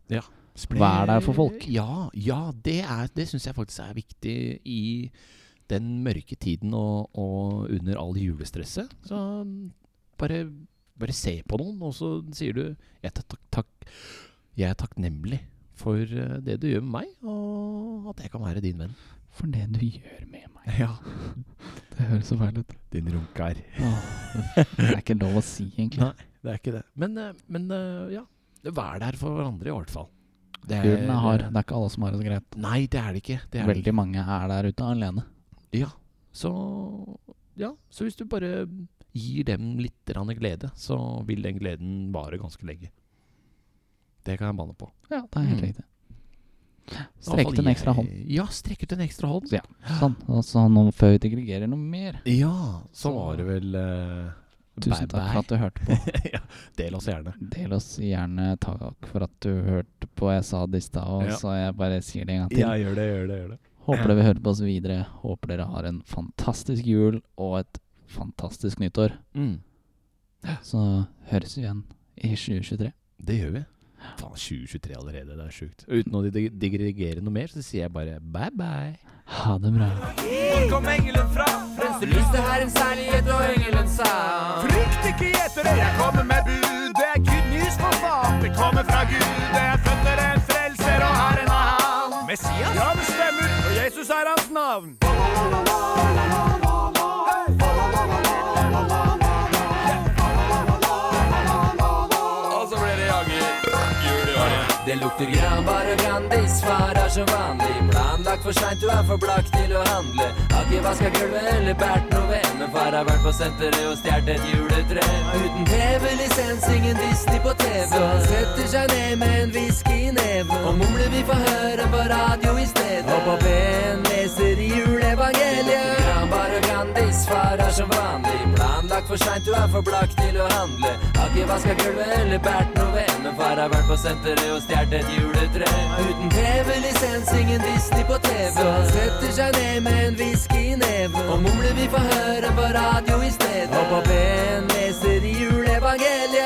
Speaker 2: Spre-
Speaker 1: Vær der for folk.
Speaker 2: Eh, Ja, ja det, er- det syns jeg faktisk er viktig i den mørke tiden og, og under all julestresset. Så bare, bare se på noen, og så sier du jeg, er takk, takk, 'Jeg er takknemlig for eh, det du gjør med meg, og at jeg kan være din venn'.
Speaker 1: For det du gjør med meg.
Speaker 2: Ja,
Speaker 1: Det høres så feil ut.
Speaker 2: din runkar.
Speaker 1: det er ikke lov å si, egentlig.
Speaker 2: Nei, det er ikke det. Men, eh, men eh, ja, vær der for hverandre i hvert fall. Det er-
Speaker 1: Julen er hard. Det er ikke alle som har det så greit.
Speaker 2: Nei, det er det ikke. Det er det
Speaker 1: Veldig mange er der ute alene.
Speaker 2: Ja, så Ja, så hvis du bare gir dem litt grann glede, så vil den gleden vare ganske lenge. Det kan jeg banne på.
Speaker 1: Ja, det er helt
Speaker 2: Mm.
Speaker 1: riktig. Strekk ut en ekstra hånd.
Speaker 2: Ja, strekk ut en ekstra hånd.
Speaker 1: Så ja, sånn. Og så nå før vi digregerer noe mer.
Speaker 2: Ja, så
Speaker 1: Så-
Speaker 2: var det vel eh,
Speaker 1: Tusen
Speaker 2: bye-bye.
Speaker 1: takk for at du hørte på.
Speaker 2: ja, del oss gjerne.
Speaker 1: Del oss gjerne takk for at du hørte på. Jeg sa det i stad, og
Speaker 2: Ja.
Speaker 1: så jeg bare sier det en gang til.
Speaker 2: gjør det, gjør det. gjør det
Speaker 1: Håper dere vil høre på oss videre. Håper dere har en fantastisk jul og et fantastisk nyttår.
Speaker 2: mm,
Speaker 1: Så høres vi igjen i 2023.
Speaker 2: Det gjør vi. Faen, 2023 allerede, det er sjukt. Uten å dig- digregere noe mer, så sier jeg bare bye-bye.
Speaker 1: Ha det bra.
Speaker 3: Hvor kom engelen fra? Frelselys, det er en særlighet og engelen sa Frykt ikke gjeter det, jeg kommer med bud Det er good news for faen, det kommer fra Gud Det er født en frelser og her en han Messias? Ja, det stemmer, og Jesus er hans navn Og så blir det jager jul i år igjen
Speaker 4: Det lukter granbar og Grandis, far er som vanlig Planlagt for seint, du er for blakk til å handle Har ikke vaska gulvet eller bært noe ved Men far har vært på senteret og stjålet et juletre Uten TV-lisens, ingen Disney på TV Så han setter seg ned med en whisky i neven Og mumler vi får høre på radio i stedet Og på P1 leser i juleevangeliet Granbar og Grandis, far er som vanlig Planlagt for seint, du er for blakk til å handle Har ikke vaska gulvet eller bært noe ved Men far har vært på senteret og stjålet et juletre. Uten TV-lisens, ingen Disney på TV. Så han setter seg ned med en whisky i neven. Og mumler vi får høre på radio i stedet. Og på P1 leser i juleevangeliet.